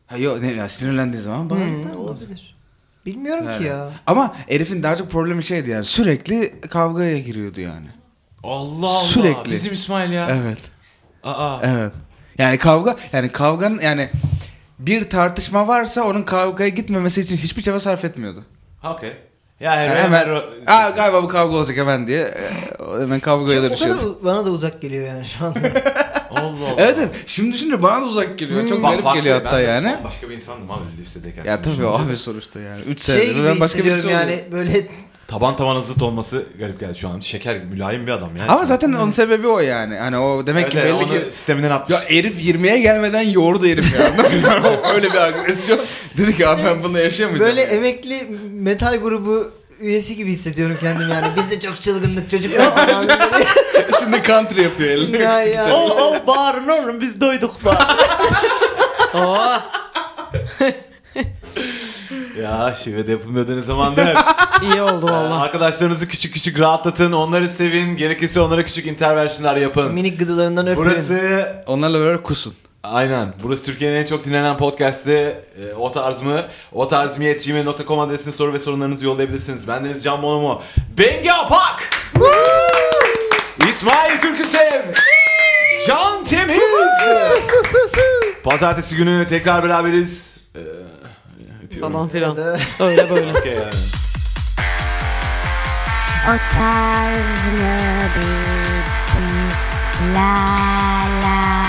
Speaker 5: ha yok ne ya sinirlendiği zaman
Speaker 4: Hı,
Speaker 5: bağırırdı.
Speaker 4: olabilir. Bilmiyorum
Speaker 5: Yani.
Speaker 4: ki Hmm, ya.
Speaker 5: Ama Elif'in daha çok problemi şeydi yani sürekli kavgaya giriyordu yani.
Speaker 2: Allah Allah.
Speaker 5: Sürekli.
Speaker 2: Bizim İsmail ya.
Speaker 5: Evet.
Speaker 2: Aa.
Speaker 5: Evet. Yani kavga yani kavganın yani bir tartışma varsa onun kavgaya gitmemesi için hiçbir çaba sarf etmiyordu.
Speaker 2: Ha okey. Ya
Speaker 5: Yani
Speaker 2: hemen.
Speaker 5: hemen Aa, galiba bu kavga olacak hemen diye e, hemen kavgaya
Speaker 4: Şey, o kadar
Speaker 5: dönüşüyordu.
Speaker 4: u- bana da uzak geliyor yani şu anda.
Speaker 2: Allah Allah.
Speaker 5: Evet evet. Şimdi düşünce bana da uzak geliyor. Çok garip geliyor hatta yani.
Speaker 2: Başka bir insandım abi lisedeyken.
Speaker 5: Ya tabii o abi sonuçta yani. 3
Speaker 4: şey
Speaker 5: senedir
Speaker 4: gibi
Speaker 5: ben başka birisi
Speaker 4: hissediyorum
Speaker 5: yani.
Speaker 4: yani böyle
Speaker 2: Taban tabana zıt olması garip geldi şu an. Şeker gibi, mülayim bir adam yani.
Speaker 5: Ama zaten onun sebebi o yani. Hani o demek
Speaker 2: evet,
Speaker 5: ki
Speaker 2: evet,
Speaker 5: belli
Speaker 2: onu
Speaker 5: ki
Speaker 2: sisteminden atmış.
Speaker 5: Ya herif 20'ye gelmeden yoğurdu herif ya. anladın mı? Yani o- Öyle bir agresyon. Dedi ki abi ben bunu yaşayamayacağım.
Speaker 4: böyle emekli metal grubu üyesi gibi hissediyorum kendimi yani. Biz de çok çılgınlık çocuklar falan. böyle.
Speaker 5: Şimdi country yapıyor elinde.
Speaker 4: ya ya.
Speaker 6: Ol ol bağırın oğlum biz doyduk bağırın.
Speaker 3: Aa,
Speaker 2: Ya şive de yapılmıyor ne zamandır.
Speaker 3: iyi oldu valla.
Speaker 2: Ee, Arkadaşlarınızı küçük küçük rahatlatın, onları sevin, gerekirse onlara küçük interventionlar yapın.
Speaker 4: Minik gıdılarından öpüyorum.
Speaker 2: Burası
Speaker 5: Onlarla beraber kusun.
Speaker 2: Aynen. Burası Türkiye'nin en çok dinlenen podcast'i. E, o tarz mı? O tarz mı? gmail.com adresine soru ve sorunlarınızı yollayabilirsiniz. Ben Deniz Can Bonomo. Bengi Apak! İsmail Türküsev! Can Temiz! Pazartesi günü tekrar beraberiz.
Speaker 3: Falan filan. Öyle böyle.
Speaker 2: Okey yani.
Speaker 7: O tarz mı bir, bir la la